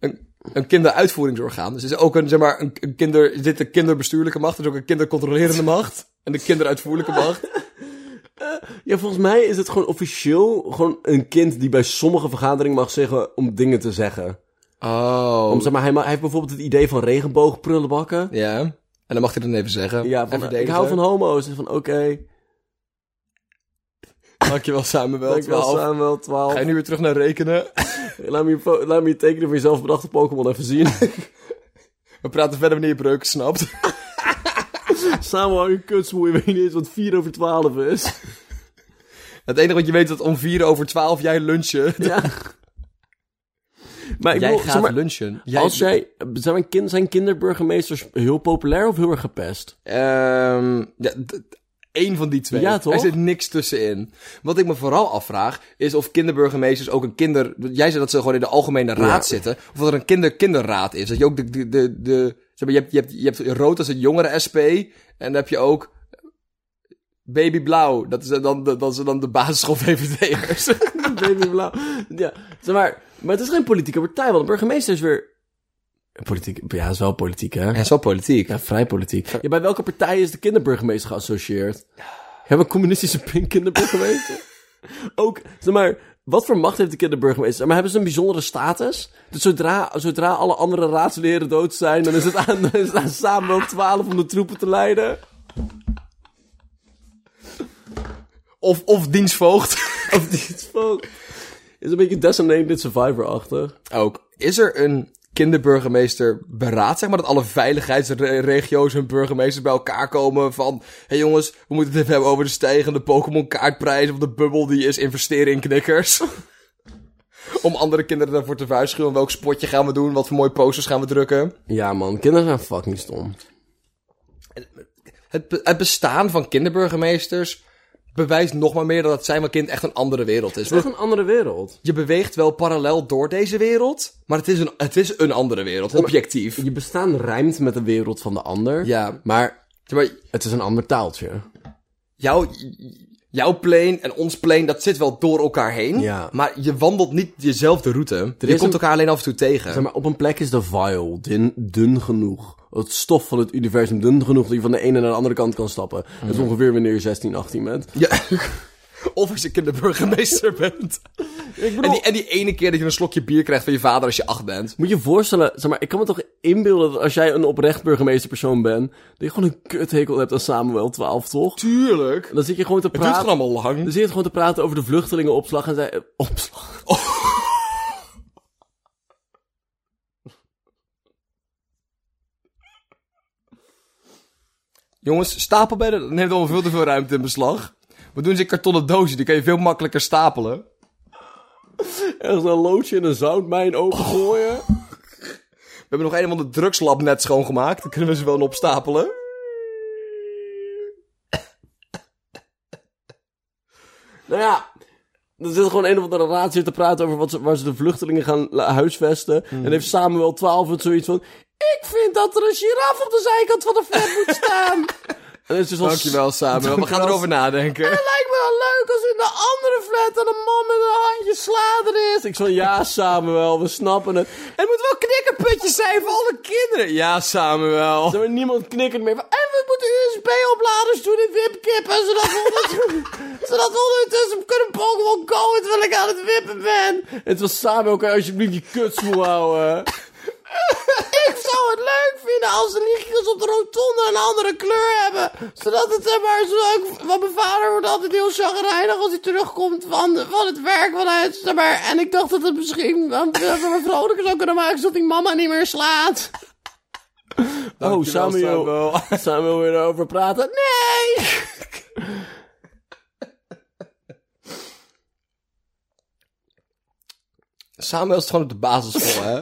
een, een kinderuitvoeringsorgaan. Dus het is ook een, zeg maar, een, een kinder, is dit de kinderbestuurlijke macht? Er is ook een kindercontrolerende macht. En de kinderuitvoerlijke macht.
Ja, volgens mij is het gewoon officieel gewoon een kind die bij sommige vergaderingen mag zeggen om dingen te zeggen.
Oh.
Om, zeg maar, hij, ma- hij heeft bijvoorbeeld het idee van regenboogprullenbakken.
Ja. En dan mag hij dat even zeggen.
Ja,
En
van, ik
verdedigen.
hou van homo's. En van, oké,
Dankjewel Samuel.
dankjewel
12.
Samuel, 12.
Ga je nu weer terug naar rekenen?
Laat me, je, fo- laat me je tekenen voor jezelf bedachte Pokémon even zien.
We praten verder wanneer je breuken snapt.
Samuel, hou je kutsmoe, je weet niet eens wat 4 over 12 is.
Het enige wat je weet is dat om vier over twaalf jij lunchen.
Ja. Maar ik bedoel, zeg maar,
lunchen.
als jij, zijn, mijn kind, zijn kinderburgemeesters heel populair of heel erg gepest?
Ehm ja, d- d- één van die twee.
Ja, toch?
Er zit niks tussenin. Wat ik me vooral afvraag, is of kinderburgemeesters ook een kinder... Jij zei dat ze gewoon in de algemene raad zitten. Of dat er een kinderkinderraad is. Dat je ook de... de, de, de zeg maar, je, hebt, je, hebt, je hebt rood als het jongere SP. En dan heb je ook... Baby Blauw. Dat is dan de, dat zijn dan de basisschoolvertegenwoordigers.
Baby blauw. Ja, zeg maar, maar het is geen politieke partij, want een burgemeester is weer... Politiek, ja, is wel politiek, hè?
Dat is wel politiek.
Ja, vrij politiek. Ja, bij welke partij is de kinderburgemeester geassocieerd? Hebben we een communistische pin- kinderburgemeester? Ook, zeg maar, wat voor macht heeft de kinderburgemeester? Maar hebben ze een bijzondere status? Dus zodra, zodra alle andere raadsleren dood zijn, dan is het aan, dan is het aan Samuel 12 om de troepen te leiden.
Of, of dienstvoogd.
Of dit volk. Is een beetje Designated Survivor-achtig.
Ook. Is er een kinderburgemeester beraad, zeg maar, dat alle veiligheidsregio's hun burgemeesters bij elkaar komen van, hé hey jongens, we moeten het even hebben over de stijgende Pokémon kaartprijs of de bubbel die is investeren in knikkers. Om andere kinderen daarvoor te waarschuwen, welk spotje gaan we doen, wat voor mooie posters gaan we drukken.
Ja, man, kinderen zijn fucking stom.
Het, be- het bestaan van kinderburgemeesters bewijst nog maar meer dat het zijn van kind echt een andere wereld is.
Het is echt een andere wereld.
Je beweegt wel parallel door deze wereld, maar het is een, het is een andere wereld, objectief.
Je bestaan rijmt met de wereld van de ander.
Ja.
Maar
Zeg maar,
het is een ander taaltje.
jouw, jouw plane en ons plane, dat zit wel door elkaar heen.
Ja.
Maar je wandelt niet dezelfde route. je
is
komt
een-
elkaar alleen af en toe tegen.
Zeg maar, op een plek is de vial dun, dun genoeg. Het stof van het universum dun genoeg dat je van de ene naar de andere kant kan stappen. Dat is ongeveer wanneer je 16, 18 bent.
Ja. Of als je kinderburgemeester bent. En die, en die ene keer dat je een slokje bier krijgt van je vader als je acht bent.
Moet je je voorstellen, zeg maar, ik kan me toch inbeelden dat als jij een oprecht burgemeesterpersoon bent, dat je gewoon een kuthekel hebt aan Samuel 12, toch?
Tuurlijk.
En dan zit je gewoon te
Het duurt
praten.
gewoon allemaal lang.
dan zit je gewoon te praten over de vluchtelingenopslag en zei... eh, Opslag?
Jongens, stapelbedden, dat neemt allemaal veel te veel ruimte in beslag. We doen ze in kartonnen dozen, die kan je veel makkelijker stapelen.
Ergens een loodje in een zoutmijn opengooien.
We hebben nog een van de drugslab net schoongemaakt. Dan kunnen we ze wel nog opstapelen.
Nou ja, er zit gewoon een of andere raad zitten te praten over wat ze, waar ze de vluchtelingen gaan la- huisvesten.
Hmm.
En heeft Samuel 12 het zoiets van... Ik vind dat er een giraf op de zijkant van de flat moet staan. En het is dus wel
Dankjewel, Samuel. We gaan
Dankjewel.
erover nadenken.
lijkt me wel leuk als in de andere flat en een man met een handje slader is. Ik zo, ja Samuel, we snappen het.
Het moet wel knikkerputjes zijn voor alle kinderen. Ja, Samuel.
Zeg maar, niemand knikkert meer van, en we moeten USB-opladers doen in wipkippen, zodat we, ondertussen, zodat we ondertussen kunnen Pokémon Go terwijl ik aan het wippen ben. Het was Samuel, kan je alsjeblieft je kutsmoe houden? Ik zou het leuk vinden als de lichtjes op de rotonde een andere kleur hebben. Zodat het zeg maar zo leuk... Want mijn vader wordt altijd heel chagrijnig als hij terugkomt van, van het werk. Van het, zeg maar, en ik dacht dat het misschien wel me vrolijker zou kunnen maken zodat die mama niet meer slaat. oh, Samuel. Samuel weer erover praten. Nee!
Samuel is gewoon op de basisschool, hè?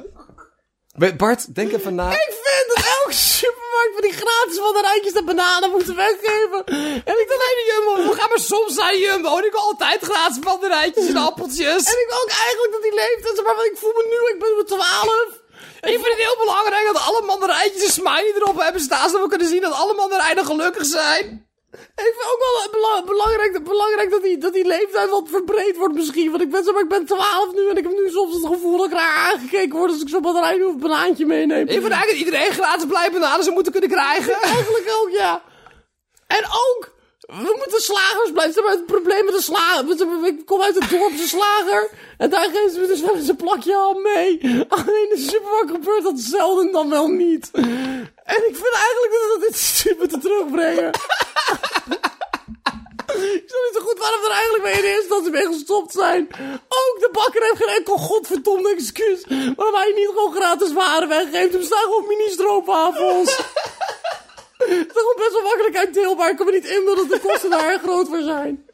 Weet- Bart, denk even na.
Ik vind dat elke supermarkt van die gratis mandarijntjes en bananen moeten weggeven. En ik dat hele jumbo.
Ga maar soms naar Jumbo. Ik wil altijd gratis mandarijntjes en
En
appeltjes.
ik wil ook eigenlijk dat die leeftijd, zeg maar want ik voel me nu, ik ben maar 12.
Ik vind het heel belangrijk dat alle mandarijntjes een smiley erop hebben staan. Zodat we kunnen zien dat alle mandarijnen gelukkig zijn.
Ik vind ook wel bela- belangrijk, belangrijk dat, die, dat die leeftijd wat verbreed wordt misschien. Want ik ben, zeg maar, ik ben 12 nu en ik heb nu soms het gevoel dat ik raar aangekeken word als ik zo'n batterij of banaantje meeneem.
Ik vind eigenlijk dat iedereen gratis blij bananen zou moeten kunnen krijgen.
Eigenlijk ook, ja. En ook, we moeten slagers blijven. Zeg maar, Het probleem met de slager. Ik kom uit het dorpse slager. En daar geven ze me dus wel eens een plakje ham mee. Alleen in de supermarkt gebeurt dat zelden dan wel niet. En ik vind eigenlijk dat we dit super moeten terugbrengen. Ik snap niet zo goed waarom er eigenlijk mee in eerste instantie mee gestopt zijn. Ook de bakker heeft geen enkel godverdomde excuus waarom hij niet gewoon gratis waren weggeeft. Hem staan gewoon mini-stroopwafels. Het is gewoon best wel makkelijk uitdeelbaar. Ik kan me niet in dat de kosten daar erg groot voor zijn.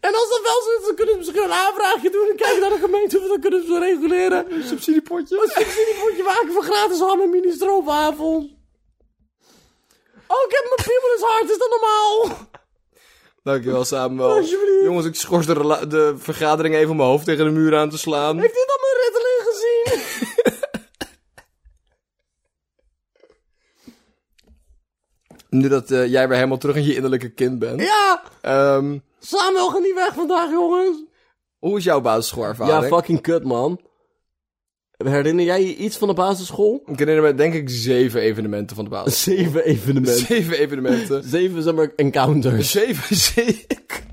En als dat wel zo is, dan kunnen ze misschien een aanvraagje doen en kijken naar de gemeente of dan kunnen ze reguleren. Een subsidiepotje. Een subsidiepotje maken voor gratis ham en mini-stroopwafel. Oh, ik heb mijn piemel is hard, is dat normaal?
Dankjewel, Samuel.
Alsjeblieft.
Jongens, ik schors de, rela- de vergadering even om mijn hoofd tegen de muur aan te slaan.
Heeft dit al mijn Ritalin gezien?
Nu dat eh, jij weer helemaal terug in je innerlijke kind bent.
Ja,
Ehm,
Samuel gaat niet weg vandaag, jongens.
hoe is jouw basisschoolervaring?
fucking kut, man. Herinner jij je iets van de basisschool?
Ik herinner me denk ik zeven evenementen van de basisschool.
Zeven evenementen.
Zeven evenementen.
Zeven, zeg maar, encounters.
Zeven, zeker.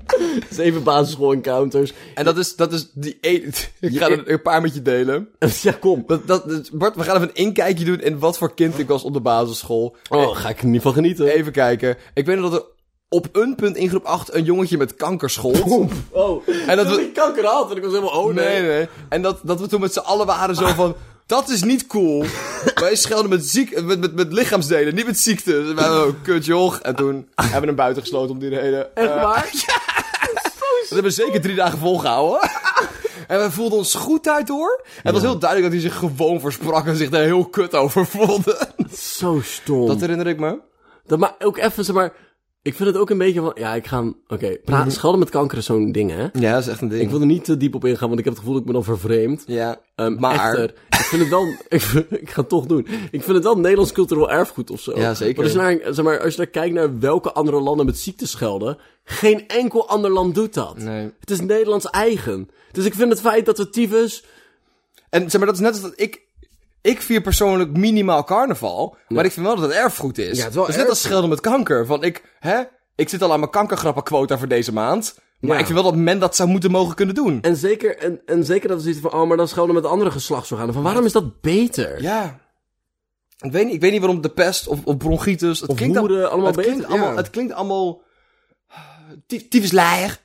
Zeven basisschool-encounters.
En dat is, dat is die één... Ik ga er een paar met je delen.
Ja, kom.
Dat, dat, dat- Bart, we gaan even een inkijkje doen in wat voor kind ik was op de basisschool. Eh,
Oh, ga ik er niet van genieten.
Even kijken. Ik weet nog dat er op een punt in groep 8 een jongetje met kanker schold.
Oh, en dat
dat we-
ik kanker had en ik was helemaal, oh nee.
Nee, nee. En dat, dat we toen met z'n allen waren zo van... Dat is niet cool. Wij schelden met, ziek, met, met, met lichaamsdelen, niet met ziektes. En wij waren ook, kut joh. En toen hebben we hem buiten gesloten om die reden.
Echt
Eh,
waar?
dat hebben we zeker drie dagen volgehouden. En wij voelden ons goed uit hoor. En het was heel duidelijk dat hij zich gewoon voorsprak en zich daar heel kut over voelde.
Zo stom.
Dat herinner ik me.
Dat maar ook even, zeg maar... Ik vind het ook een beetje van... Ja, ik ga... hem- Oké, praten, schelden met kanker is zo'n ding, hè?
Ja, dat is echt een
Ik wil er niet te diep op ingaan, want ik heb het gevoel dat ik me dan vervreemd.
Ja,
Ehm,
maar...
echter, ik vind het wel... ik, vind- ik ga het toch doen. Ik vind het wel Nederlands cultureel erfgoed of zo.
Ja, zeker.
Maar als, je naar, zeg maar als je naar kijkt naar welke andere landen met ziekte schelden... Geen enkel ander land doet dat.
Nee.
Het is Nederlands eigen. Dus ik vind het feit dat we tyfus...
En zeg maar, dat is net als dat ik... Ik vier persoonlijk minimaal carnaval, maar ik vind wel dat het erfgoed is.
het is wel
dat is net als schelden met kanker. Van ik, hè, ik zit al aan mijn kankergrappenquota voor deze maand. Maar
Ja.
ik vind wel dat men dat zou moeten mogen kunnen doen.
En zeker, en, en zeker dat we zoiets van, oh, maar dan schelden met andere geslachtsorganen. Van waarom is dat beter?
Ja. Ik weet, niet, ik weet niet waarom de pest of, of bronchitis... Het
Of
klinkt al-
hoeren, allemaal
het klinkt
beter,
allemaal,
ja.
Het klinkt allemaal... ty- Tyfus laaier.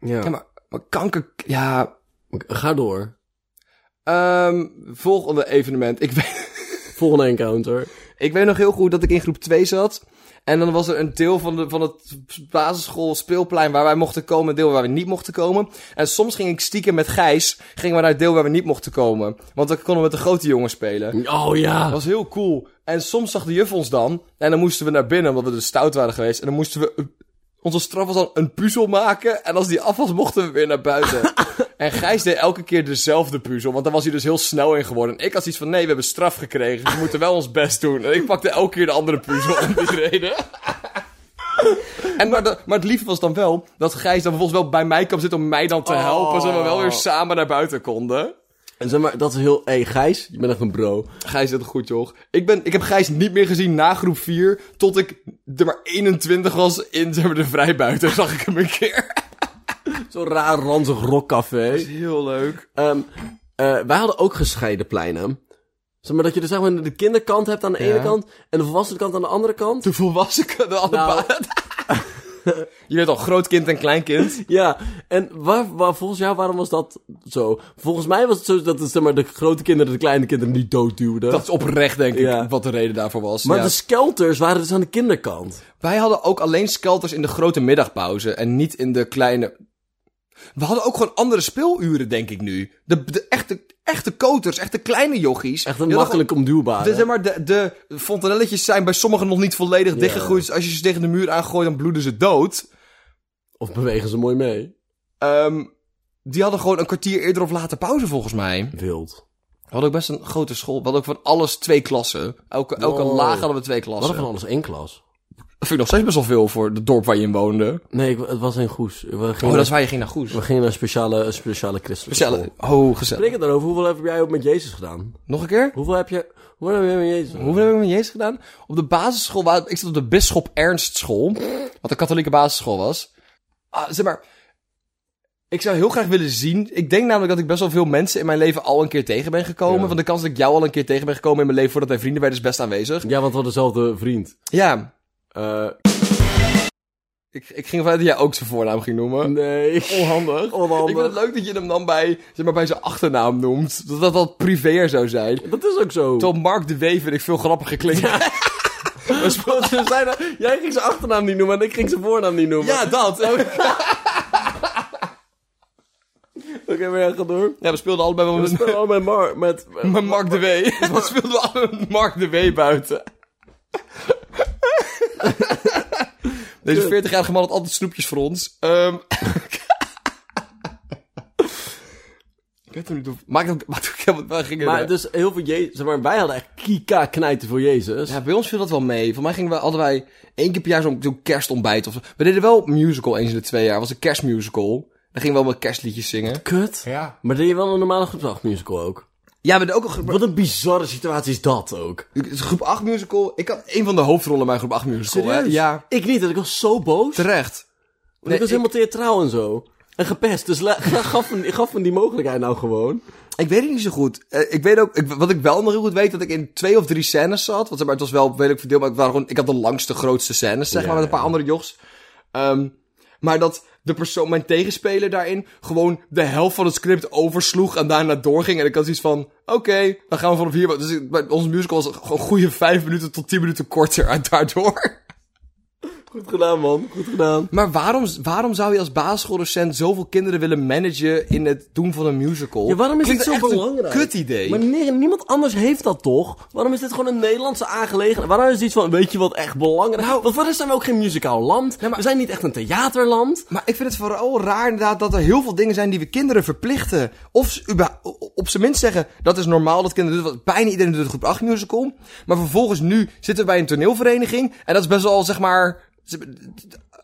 Ja.
Ja, maar, maar kanker... Ja...
Ga door.
ehm, volgende evenement. Ik weet...
Volgende encounter.
Ik weet nog heel goed dat ik in groep 2 zat. En dan was er een deel van, de, van het basisschool speelplein waar wij mochten komen. Een deel waar we niet mochten komen. En soms ging ik stiekem met Gijs. Gingen we naar het deel waar we niet mochten komen. Want we konden met de grote jongens spelen.
Oh ja.
Dat was heel cool. En soms zag de juf ons dan. En dan moesten we naar binnen, omdat we dus stout waren geweest. En dan moesten we... Onze straf was dan een puzzel maken. En als die af was, mochten we weer naar buiten. En Gijs deed elke keer dezelfde puzzel, want daar was hij dus heel snel in geworden. En ik had iets van, nee, we hebben straf gekregen, dus we moeten wel ons best doen. En ik pakte elke keer de andere puzzel om die reden. En maar, de- maar het lieve was dan wel dat Gijs dan vervolgens wel bij mij kwam zitten om mij dan te helpen, zodat we wel weer samen naar buiten konden.
En zeg maar, dat is heel... Hé, hey, Gijs, je bent echt een bro.
Gijs dat goed, joh. Ik, ben, ik heb Gijs niet meer gezien na groep 4, tot ik er maar 21 was in zeg maar, de vrijbuiten, zag ik hem een keer.
Zo'n raar, ranzig rockcafé.
Heel leuk.
Ehm, eh, wij hadden ook gescheiden pleinen. Zeg maar dat je dus zeg maar de kinderkant hebt aan de ene kant en de volwassen kant aan de andere kant.
De volwassenen, de
Nou.
allebei. Je bent al groot kind en kleinkind.
Ja, en waar, waar, volgens jou, waarom was dat zo? Volgens mij was het zo dat het, zeg maar, de grote kinderen de kleine kinderen niet doodduwden.
Dat is oprecht, denk ik,
Ja.
wat de reden daarvoor was.
maar
ja.
de skelters waren dus aan de kinderkant.
Wij hadden ook alleen skelters in de grote middagpauze en niet in de kleine... We hadden ook gewoon andere speeluren, denk ik nu. De, de echte, echte koters, echte kleine jochies.
Echt
Die
een
hadden gewoon-
makkelijk omduwbare.
De, zeg maar, de, de fontanelletjes zijn bij sommigen nog niet volledig dichtgegroeid. Dus als je ze tegen de muur aangooit, dan bloeden ze dood.
Of bewegen ze mooi mee?
Ehm, die hadden gewoon een kwartier eerder of later pauze, volgens mij.
Wild.
We hadden ook best een grote school. We hadden ook van alles twee klassen. Elke, elke
Wow.
laag hadden we twee
We
klassen.
hadden van alles één klas.
Dat vind ik nog steeds best wel veel voor het dorp waar je in woonde.
Nee, ik- het was in Goes. We gingen,
Oh, dat is waar je ging naar Goes.
we gingen naar een speciale, een speciale christelijke
Gezellig.
school.
Oh, gezellig.
Spreek het daarover. Hoeveel heb jij ook met Jezus gedaan?
Nog een keer?
Hoeveel heb je... Hoeveel heb je met Jezus gedaan?
Hoeveel heb ik met Jezus gedaan? Op de basisschool, waar, ik zat op de Bisschop Ernstschool, wat een katholieke basisschool was. Ah, zeg maar, ik zou heel graag willen zien, ik denk namelijk dat ik best wel veel mensen in mijn leven al een keer tegen ben gekomen.
Ja.
Van de kans dat ik jou al een keer tegen ben gekomen in mijn leven voordat wij vrienden werden is best aanwezig.
Ja, want we hadden dezelfde vriend.
Ja,
Eh,
ik, ik ging ervan uit dat jij ook zijn voornaam ging noemen.
nee.
Onhandig.
Onhandig.
Ik vind het leuk dat je hem dan bij, zeg maar, bij zijn achternaam noemt. Dat dat wat privéer zou zijn.
Dat is ook zo.
Terwijl Mark de Wee vind ik veel grappiger klinken.
We speelden- we zeiden- jij ging zijn achternaam niet noemen en ik ging zijn voornaam niet noemen.
Ja, dat.
Oké, maar ja, ga door.
Ja, we speelden allebei wel
We
met
spelen al met Mar... Met, eh,
Maar Mark de W. Dan speelden we allemaal met Mark de W buiten. Deze 40-jarige man had altijd snoepjes voor ons. Ehm, ik weet het niet of... Maakt ook... Maakt ook helemaal- waar gingen
maar
we?
dus heel veel Jezus... Zeg maar, wij hadden echt kika knijten voor Jezus.
Ja, bij ons viel dat wel mee. Voor mij gingen we, hadden wij één keer per jaar zo'n zo'n kerstontbijt. Of zo. We deden wel musical eens in de twee jaar. was een kerstmusical. Dan gingen we wel wat kerstliedjes zingen.
Kut.
Ja.
Maar deed je wel een normale groep 8 musical ook?
Ja, we deden ook een groep,
Wat een bizarre situatie is dat ook.
groep 8 musical. Ik had een van de hoofdrollen in mijn groep 8 musical. hè. Ja,
Ik niet, dat ik was zo boos.
terecht.
Want ik
Nee,
was helemaal theatraal en zo. En gepest, dus la- gaf, me, gaf me die mogelijkheid nou gewoon.
Ik weet het niet zo goed. Eh, ik weet ook, ik, wat ik wel nog heel goed weet, dat ik in twee of drie scènes zat. Want zeg maar, het was wel redelijk verdeeld, maar ik, waren gewoon, ik had de langste, grootste scènes, zeg
Ja,
maar, met een paar
ja.
andere jochs. Ehm, maar dat de persoon, mijn tegenspeler daarin, gewoon de helft van het script oversloeg en daarna doorging. En ik had zoiets van, oké, dan gaan we vanaf hier. Dus ik- bij onze musical was het gewoon goede vijf minuten tot tien minuten korter uit daardoor.
Goed gedaan, man. Goed gedaan.
Maar waarom, waarom zou je als basisschooldocent zoveel kinderen willen managen in het doen van een musical?
Ja, waarom is
Klinkt
dit zo
echt
belangrijk?
Een kut idee.
Maar nee, niemand anders heeft dat toch? Waarom is dit gewoon een Nederlandse aangelegenheid? Waarom is dit van, weet je wat echt belangrijk
Nou-
is? Want voor de rest zijn we ook geen muzikaal land. We zijn niet echt een theaterland.
Maar ik vind het vooral raar inderdaad dat er heel veel dingen zijn die we kinderen verplichten. Of ze überha- op zijn minst zeggen, dat is normaal dat kinderen doen. Want bijna iedereen doet het groep 8 musical. Maar vervolgens nu zitten we bij een toneelvereniging. En dat is best wel, zeg maar...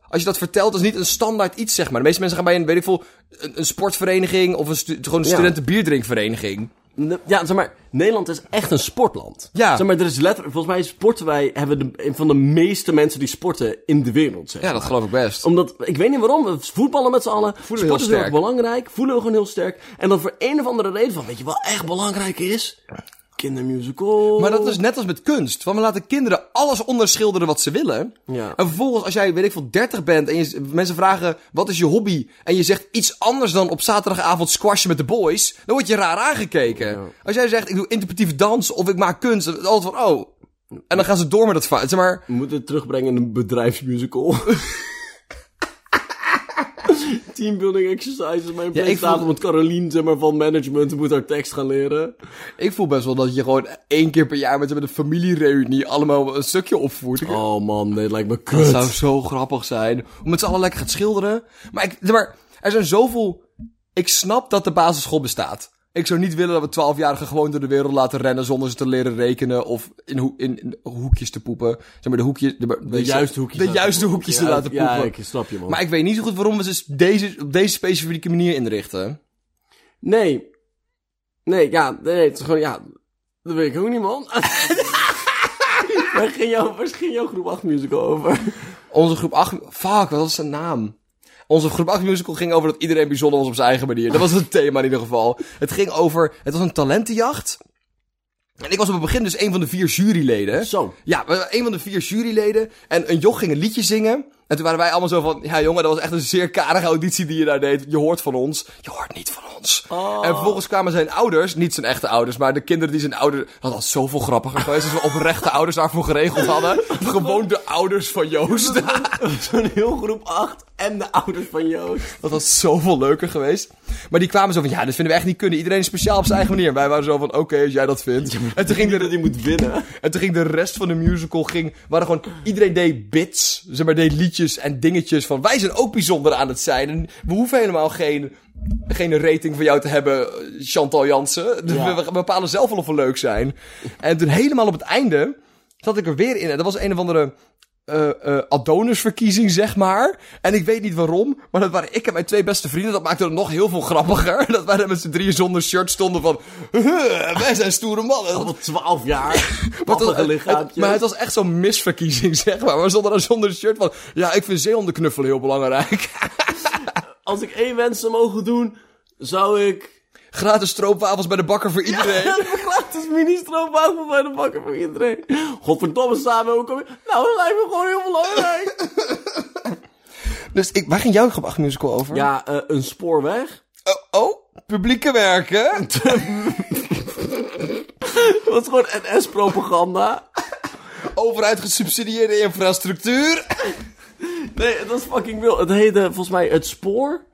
Als je dat vertelt, is niet een standaard iets, zeg maar. De meeste mensen gaan bij een, weet ik veel, een, een sportvereniging of een stu- gewoon een
Ja.
studentenbierdrinkvereniging.
Ne- Ja, zeg maar, Nederland is echt een sportland.
Ja.
Zeg maar, er is letterlijk, volgens mij sporten wij, hebben de, een van de meeste mensen die sporten in de wereld, zeg.
Ja, dat geloof ik best.
Omdat, ik weet niet waarom, we voetballen met z'n allen.
Voelen we
Sport
heel
is
sterk.
heel erg belangrijk, voelen we gewoon heel sterk. En dan voor een of andere reden van, weet je wat echt belangrijk is? Kindermusical.
Maar dat is net als met kunst. Want we laten kinderen alles onderschilderen wat ze willen.
Ja.
En vervolgens, als jij, weet ik veel, 30 bent en je, mensen vragen: wat is je hobby? En je zegt iets anders dan op zaterdagavond squashen met de boys. Dan word je raar aangekeken. Als jij zegt: ik doe interpretieve dans of ik maak kunst. Dan is het altijd van: oh. En dan gaan ze door met dat fout. Zeg maar,
We moeten het terugbrengen in een bedrijfsmusical. Teambuilding exercises. Mijn
ik
presentator,
voel-
want Caroline zeg maar, van management moet haar tekst gaan leren.
ik voel best wel dat je gewoon één keer per jaar met, met een familiereunie allemaal een stukje opvoert. Ik-
Oh man, nee, het lijkt me
Dat
kut.
zou zo grappig zijn. Om met z'n allen lekker gaan schilderen. Maar, ik, maar er zijn zoveel Ik snap dat de basisschool bestaat. Ik zou niet willen dat we twaalfjarigen gewoon door de wereld laten rennen zonder ze te leren rekenen of in, hoe- in, in hoekjes te poepen. Zeg maar de hoekjes... De, de-
De juiste hoekjes.
De
laten
juiste
poepen.
hoekjes
Ja,
te laten poepen.
Ja, ik snap je, man.
Maar ik weet niet zo goed waarom we ze deze, op deze specifieke manier inrichten.
Nee. Nee, ja, nee, het is gewoon, ja, dat weet ik ook niet, man. Waar ging, jou, waar ging jouw groep 8 musical over?
Onze groep 8... Fuck, wat was zijn naam? Onze groep 8 musical ging over dat iedereen bijzonder was op zijn eigen manier. Dat was het thema in ieder geval. Het ging over... Het was een talentenjacht. En ik was op het begin dus een van de vier juryleden.
Zo.
Ja, we waren een van de vier juryleden. En een joch ging een liedje zingen. En toen waren wij allemaal zo van... Ja jongen, dat was echt een zeer karige auditie die je daar deed. Je hoort van ons. Je hoort niet van ons. En vervolgens kwamen zijn ouders. Niet zijn echte ouders, maar de kinderen die zijn ouders... Dat was zoveel grappiger geweest als we oprechte ouders daarvoor geregeld hadden. Gewoon de ouders van Joost.
Zo'n heel groep 8 en de ouders van Joost.
Dat was zoveel leuker geweest. Maar die kwamen zo van, ja, dit vinden we echt niet kunnen. Iedereen is speciaal op zijn eigen manier. Wij waren zo van, oké, als jij dat vindt. En toen, ging de,
Die moet winnen.
en toen ging de rest van de musical, ging, waren gewoon, iedereen deed bits. Zeg maar, deed liedjes en dingetjes van, wij zijn ook bijzonder aan het zijn. En we hoeven helemaal geen, geen rating van jou te hebben, Chantal Jansen. Dus
Ja.
we, we bepalen zelf wel of we leuk zijn. En toen helemaal op het einde, zat ik er weer in. En dat was een of andere eh eh, Adonis-verkiezing, zeg maar. En ik weet niet waarom, maar dat waren ik en mijn twee beste vrienden. Dat maakte het nog heel veel grappiger. Dat wij daar met z'n drieën zonder shirt stonden van... "Huh, wij zijn stoere mannen.
Tot 12 jaar.
Maar het was-
Pappige
het- het- maar
lichaampjes.
het was echt zo'n misverkiezing, zeg maar. Maar we stonden daar zonder shirt van... Ja, ik vind zeehondenknuffelen heel belangrijk.
Als ik één wens zou mogen doen, zou ik...
Gratis stroopwafels bij de bakker voor iedereen.
Gratis mini-stroopwafel bij de bakker voor iedereen. Godverdomme, samen, hoe kom je... Nou, dat lijkt me gewoon heel belangrijk.
Dus ik, waar ging jouw groep 8 musical over?
ja, eh, een spoorweg.
Oh, oh, publieke werken.
Dat is gewoon NS-propaganda.
Overheid gesubsidieerde infrastructuur.
Nee, het was fucking wild. Het heette volgens mij Het Spoor.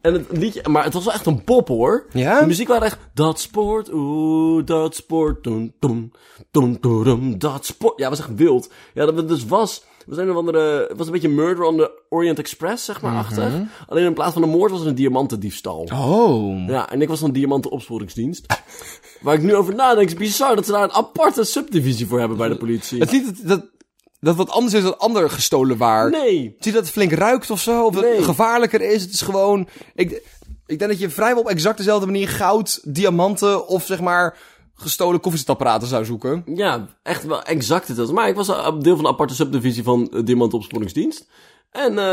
En het liedje, maar het was wel echt een pop hoor.
Ja?
De muziek was echt, dat spoort, oeh, dat spoort, toen, toen, toen, toen, toen, dat spoort. Ja, het was echt wild. Ja, dat het dus was, het was een of andere, het was een beetje Murder on the Orient Express, zeg maar, achter. Alleen in plaats van een moord was het een diamantendiefstal.
Mhm. Oh.
Ja, en ik was dan diamantenopsporingsdienst. Waar ik nu over nadenk, is bizar dat ze daar een aparte subdivisie voor hebben bij de politie.
Het is niet dat, dat, dat wat anders is dan ander gestolen waar.
Nee.
Het is niet dat het flink ruikt of zo, of dat
Nee.
het gevaarlijker is. Het is gewoon... Ik, ik denk dat je vrijwel op exact dezelfde manier goud, diamanten of zeg maar gestolen koffiezetapparaten zou zoeken.
Ja, echt wel exact het. was. Maar ik was een deel van de aparte subdivisie van eh, Diamantopsporingsdienst. En eh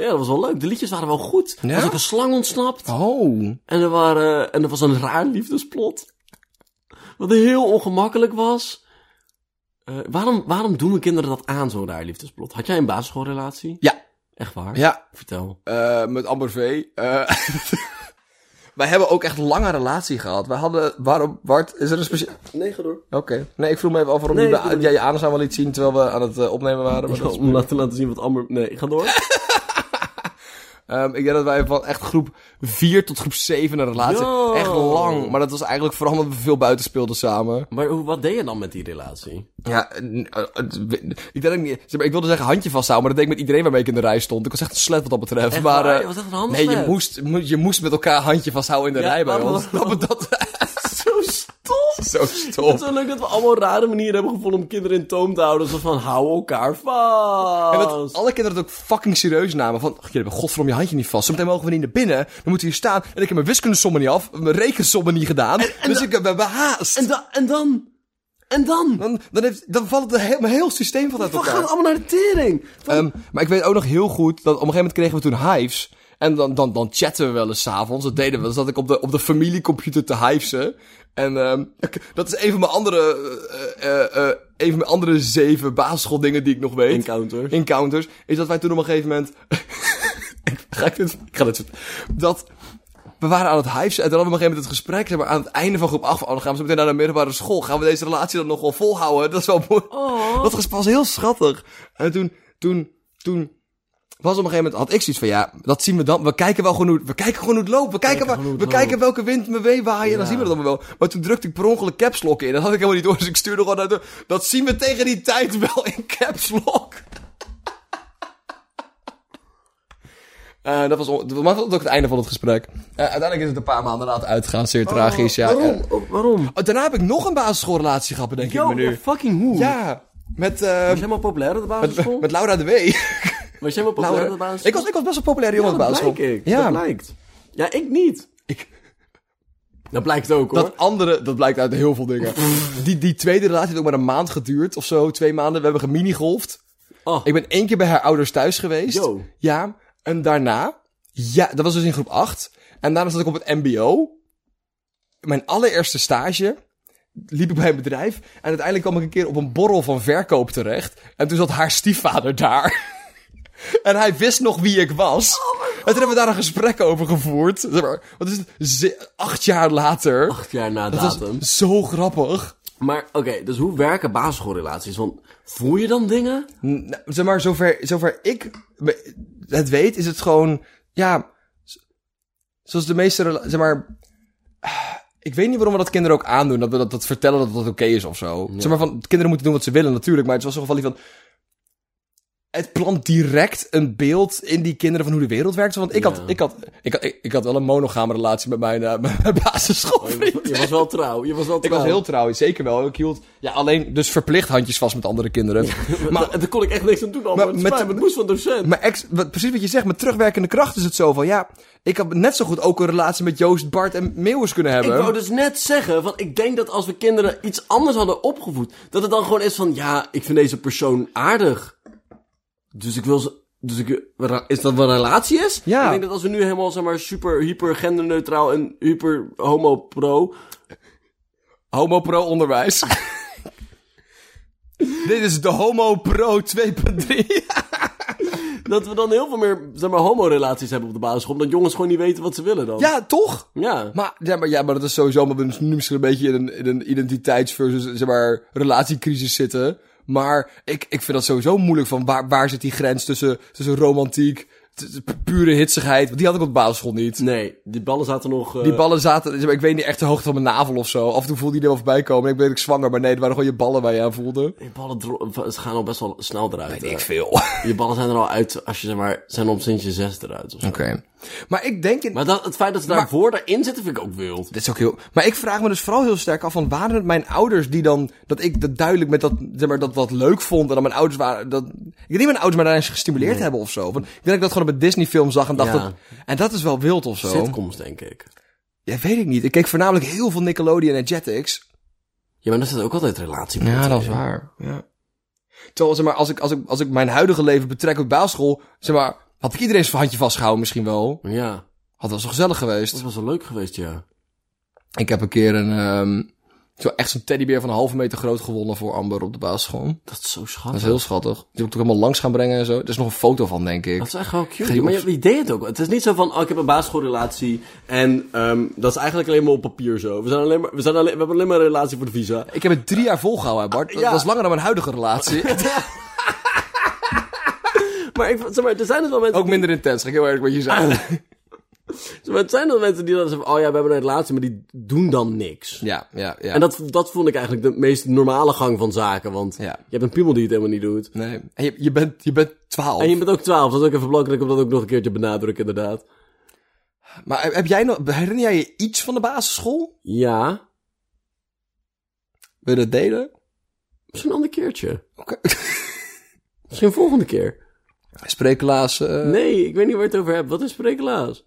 ja, dat was wel leuk. De liedjes waren wel goed. Er was ook een slang ontsnapt.
Oh.
En er, waren, en er was een raar liefdesplot. Wat heel ongemakkelijk was. Eh, waarom, waarom doen we kinderen dat aan, zo'n raar liefdesplot? Had jij een basisschoolrelatie?
Ja.
Echt waar?
Ja.
Vertel.
Eh, met Amber V. Eh, wij hebben ook echt lange relatie gehad. Wij hadden... Waarom... Bart, is er een speciaal...
Nee, ga door.
Oké. Nee, ik vroeg me even af waarom
Nee,
je de-
ik bedoel-
jij je anus aan wel liet zien terwijl we aan het eh, opnemen waren. Maar dat is-
om laten, laten zien wat Amber... Nee, ga door.
Ehm, ik denk dat wij van echt groep 4 tot groep 7 een relatie
Yo.
Echt lang. Maar dat was eigenlijk vooral omdat we veel buiten speelden samen.
maar hoe- wat deed je dan met die relatie?
Ja, eh, eh, het- ik, denk niet, zeg maar, ik wilde zeggen handje vasthouden, maar dat deed ik met iedereen waarmee ik in de rij stond. Ik was echt een slet wat dat betreft.
Echt
maar,
waar?
eh,
Je was echt een
nee,
handslet.
je moest, mo- je moest met elkaar handje vasthouden in de
Ja,
rij bij
waarom
ons. Dat, dat,
Zo stom!
zo
Het
stom.
is wel leuk dat we allemaal rare manieren hebben gevonden om kinderen in toom te houden. Zo van, hou elkaar vast.
En dat alle kinderen het ook fucking serieus namen. Van, ach, jullie hebben godverdomme je handje niet vast. Zometeen mogen we niet naar binnen. Dan moeten we hier staan. En ik heb mijn wiskundesommen niet af. Mijn rekensommen niet gedaan. dus ik heb we hebben haast.
En, da- en dan... En dan...
Dan, dan, heeft, dan valt het hele, mijn heel systeem valt uit
We gaan
elkaar.
allemaal naar de tering. Van-
Ehm, maar ik weet ook nog heel goed dat op een gegeven moment kregen we toen hives. En dan, dan, dan chatten we wel eens 's avonds. Dat deden we. Dan zat ik op de, op de familiecomputer te hivesen. En ehm, ik- dat is een van mijn andere, eh, eh, eh, een van mijn andere zeven basisschooldingen die ik nog weet.
Encounters.
Encounters. Is dat wij toen op een gegeven moment... Ik- ga ik dit... Ik ga dit... Dat... We waren aan het hivesen en dan hadden we op een gegeven moment het gesprek. Zeg maar, aan het einde van groep 8 van, oh, dan gaan we zo meteen naar de middelbare school. Gaan we deze relatie dan nog wel volhouden? Dat is wel mooi. Dat ges- was heel schattig. En toen, toen, toen was op een gegeven moment, had ik zoiets van, ja, dat zien we dan. We kijken wel gewoon hoe, we kijken gewoon hoe het loopt. We kijken,
gewoon
waar,
hoe
we
het loopt.
kijken welke wind me weewaaien en dan
Ja.
zien we dat allemaal wel. Maar toen drukte ik per ongeluk caps lock in. Dat had ik helemaal niet door, dus ik stuurde gewoon uit. Dat zien we tegen die tijd wel in caps lock. Eh, dat was on- dat was ook het einde van het gesprek. Eh, uiteindelijk is het een paar maanden later uitgegaan. Zeer tragisch, ja.
Waarom? Oh, waarom?
Eh, daarna heb ik nog een basisschoolrelatie gehad, bedenk ik
Yo,
me nu.
fucking hoe?
Ja, met, eh,
Was jij helemaal populair op de basisschool?
met, met Laura de Wee.
Was jij helemaal populair op de
Laura-
basisschool?
ik, was, ik was best wel populair jongen
ja,
op de
dat
basisschool.
blijk ik.
Ja,
Dat blijkt. Ja, ik niet.
Ik-
Dat blijkt ook, hoor.
Dat andere, dat blijkt uit heel veel dingen. Die, die tweede relatie heeft ook maar een maand geduurd of zo, twee maanden. We hebben geminigolfd.
Oh.
Ik ben één keer bij haar ouders thuis geweest.
Yo.
Ja, en daarna, ja, dat was dus in groep 8. En daarna zat ik op het MBO. Mijn allereerste stage liep ik bij een bedrijf. En uiteindelijk kwam ik een keer op een borrel van verkoop terecht. En toen zat haar stiefvader daar. En hij wist nog wie ik was.
Oh
en toen hebben we daar een gesprek over gevoerd. Zeg maar, Wat is het? Ze- acht jaar later.
Acht jaar na
Dat
datum.
was zo grappig.
Maar oké, dus hoe werken basisschoolrelaties? Want voel je dan dingen?
N- nou, zeg maar, zover, zover ik me- het weet, is het gewoon, ja, z- zoals de meeste, rela- zeg maar, ah, ik weet niet waarom we dat kinderen ook aandoen, dat we dat, dat vertellen dat dat oké is of zo. Zeg maar, van, kinderen moeten doen wat ze willen natuurlijk, maar het was toch wel die van, het plant direct een beeld in die kinderen van hoe de wereld werkt. Want ik, had,
Ja.
ik, had, ik, had, ik, ik had wel een monogame relatie met mijn, eh, met mijn basisschoolvriend.
Oh, Je was wel trouw. Je was wel
Ik
trouw.
was heel trouw, zeker wel. Ik hield ja, alleen dus verplicht handjes vast met andere kinderen.
Maar daar kon ik echt niks aan doen, Albert.
Maar
Het
met-
spijt me, het moest van docent.
Maar ex, wat, precies wat je zegt, met terugwerkende kracht is het zo van... Ja, ik had net zo goed ook een relatie met Joost, Bart en Meeuwis kunnen
Ik
hebben.
wou dus net zeggen, want ik denk dat als we kinderen iets anders hadden opgevoed, dat het dan gewoon is van, ja, ik vind deze persoon aardig. Dus ik wil ze... Dus ik, is dat wat een relatie is?
Ja.
Ik denk dat als we nu helemaal, zeg maar, super, hyper genderneutraal en hyper homo-pro...
Homo pro onderwijs. Dit is de Homo pro 2.3.
Dat we dan heel veel meer, zeg maar, homo-relaties hebben op de basisschool. Omdat jongens gewoon niet weten wat ze willen dan.
ja, toch?
Ja.
Maar, ja, maar, ja, maar dat is sowieso... Maar we nu misschien een beetje in een, in een identiteits- versus zeg maar, relatiecrisis zitten. Maar ik, ik vind dat sowieso moeilijk van... Waar, waar zit die grens tussen, tussen romantiek, t- t- pure hitsigheid? Want die had ik op de basisschool niet.
Nee, die ballen zaten nog... eh,
Die ballen zaten, zeg maar, ik weet niet echt de hoogte van mijn navel of zo. Af en toe voelde die er wel voorbij komen. Ik weet ik zwanger, maar nee, het waren gewoon je ballen waar je aan voelde.
die ballen dro- ze gaan al best wel snel eruit. eh. hè.
veel. Oké.
Je ballen zijn er al uit als je, zeg maar, zijn om sinds je zes eruit of zo.
Maar ik denk... In...
Maar dat, het feit dat ze daarvoor daarin zitten vind ik ook wild.
Dit is ook heel... Maar ik vraag me dus vooral heel sterk af van... Waren het mijn ouders die dan... Dat ik dat duidelijk met dat... Zeg maar, dat wat leuk vond. En dan mijn ouders waren... Dat... Ik denk niet mijn ouders mij daarin gestimuleerd hebben of zo. Want ik denk dat ik dat gewoon op een Disney film zag en dacht...
Ja.
Dat... En dat is wel wild of zo.
Sitcoms, denk ik.
Ja, weet ik niet. Ik keek voornamelijk heel veel Nickelodeon en Jetix.
Ja, maar daar zit ook altijd relatie
Ja, dat is waar. Ja. Terwijl, zeg maar, als ik, als ik, als ik mijn huidige leven betrek op basisschool, zeg maar, had ik iedereen zijn handje vastgehouden misschien wel.
Ja,
Had wel zo gezellig geweest.
dat was wel leuk geweest, ja.
Ik heb een keer een, ehm, zo echt zo'n teddybeer van een halve meter groot gewonnen voor Amber op de basisschool.
Dat is zo
Dat
schattig.
is heel schattig. Die moet ik ook helemaal langs gaan brengen en zo. Er is nog een foto van, denk ik.
Dat is echt wel cute.
Ga je
maar
op-
je, je deed het ook. Het is niet zo van, oh, ik heb een basisschoolrelatie. En ehm, dat is eigenlijk alleen maar op papier zo. We, zijn alleen maar, we, zijn alleen, we hebben alleen maar een relatie voor de visa.
Ik heb het drie jaar volgehouden, hè, Bart.
Ja.
Dat was langer dan mijn huidige relatie.
Maar, ik, zeg maar er zijn dus wel mensen...
ook minder intens, ga ik heel erg met je
Ah.
zeggen.
zeg maar, het zijn wel mensen die dan zeggen, van, oh ja, we hebben een relatie, maar die doen dan niks.
Ja, ja, ja.
En dat, dat vond ik eigenlijk de meest normale gang van zaken. Want
Ja.
je hebt een piemel die het helemaal niet doet.
Nee. En je, je bent, je bent twaalf.
En je bent ook 12, dat is ook even belangrijk om dat ook nog een keertje benadrukken, inderdaad.
Maar heb jij nog, herinner jij je iets van de basisschool?
Ja,
Wil je dat delen?
misschien een ander keertje.
Oké.
Misschien volgende keer.
Spreeklaas. eh,
Nee, ik weet niet waar je het over hebt. Wat is spreeklaas?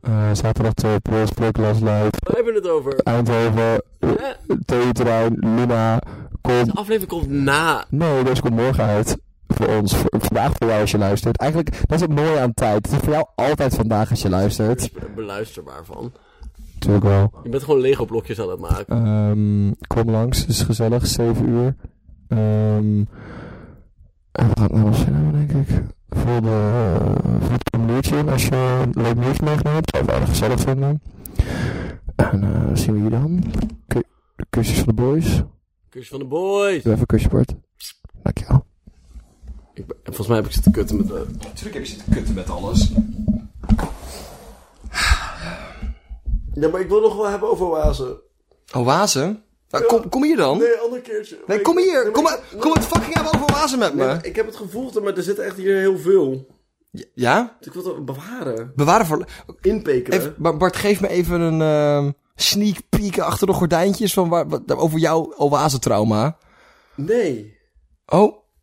Eh, zaterdag 2 april, Spreeklas Live,
Waar hebben we het over?
Eindhoven, eh,
Ja,
Theeterrein, Luna, kom.
de aflevering komt na.
Nee, deze komt morgen uit. Voor ons, v- vandaag voor jou als je luistert. Eigenlijk, dat is het mooie aan tijd. Het is voor jou altijd vandaag als je luistert.
Beluisterbaar van.
Natuurlijk wel.
Je bent gewoon Lego blokjes aan het maken.
Ehm, kom langs, het is gezellig, 7 uur. Ehm, en we gaan naar ons nou zin hebben, denk ik. Voor de eh, voor het muurtje, als je een leuk muurtje meegenomen hebt, zou ik het wel gezellig vinden. En eh, zien we hier dan. Ku- de kusjes van de boys.
Kusje van de boys.
Doe even een kusje, Bart. Dankjewel.
Ik ben- volgens mij heb ik zitten kutten met de...
Natuurlijk heb je zitten kutten met alles.
Ja, maar ik wil nog wel hebben over oase.
Oase? Oh, Nou, kom, kom hier dan.
Nee, ander keertje.
Nee,
Ik-
kom hier.
nee,
kom,
maar
maar,
ik-
kom het fucking hebben over wazen met
nee,
me.
maar Ik heb het gevoel, dat- maar er zit echt hier heel veel.
Ja?
Dus ik wil het bewaren.
Bewaren voor...
Inpekeren.
Even, Ba- Bart, geef me even een ehm, sneak peek achter de gordijntjes van waar, wat- over jouw oase-trauma.
Nee.
Oh,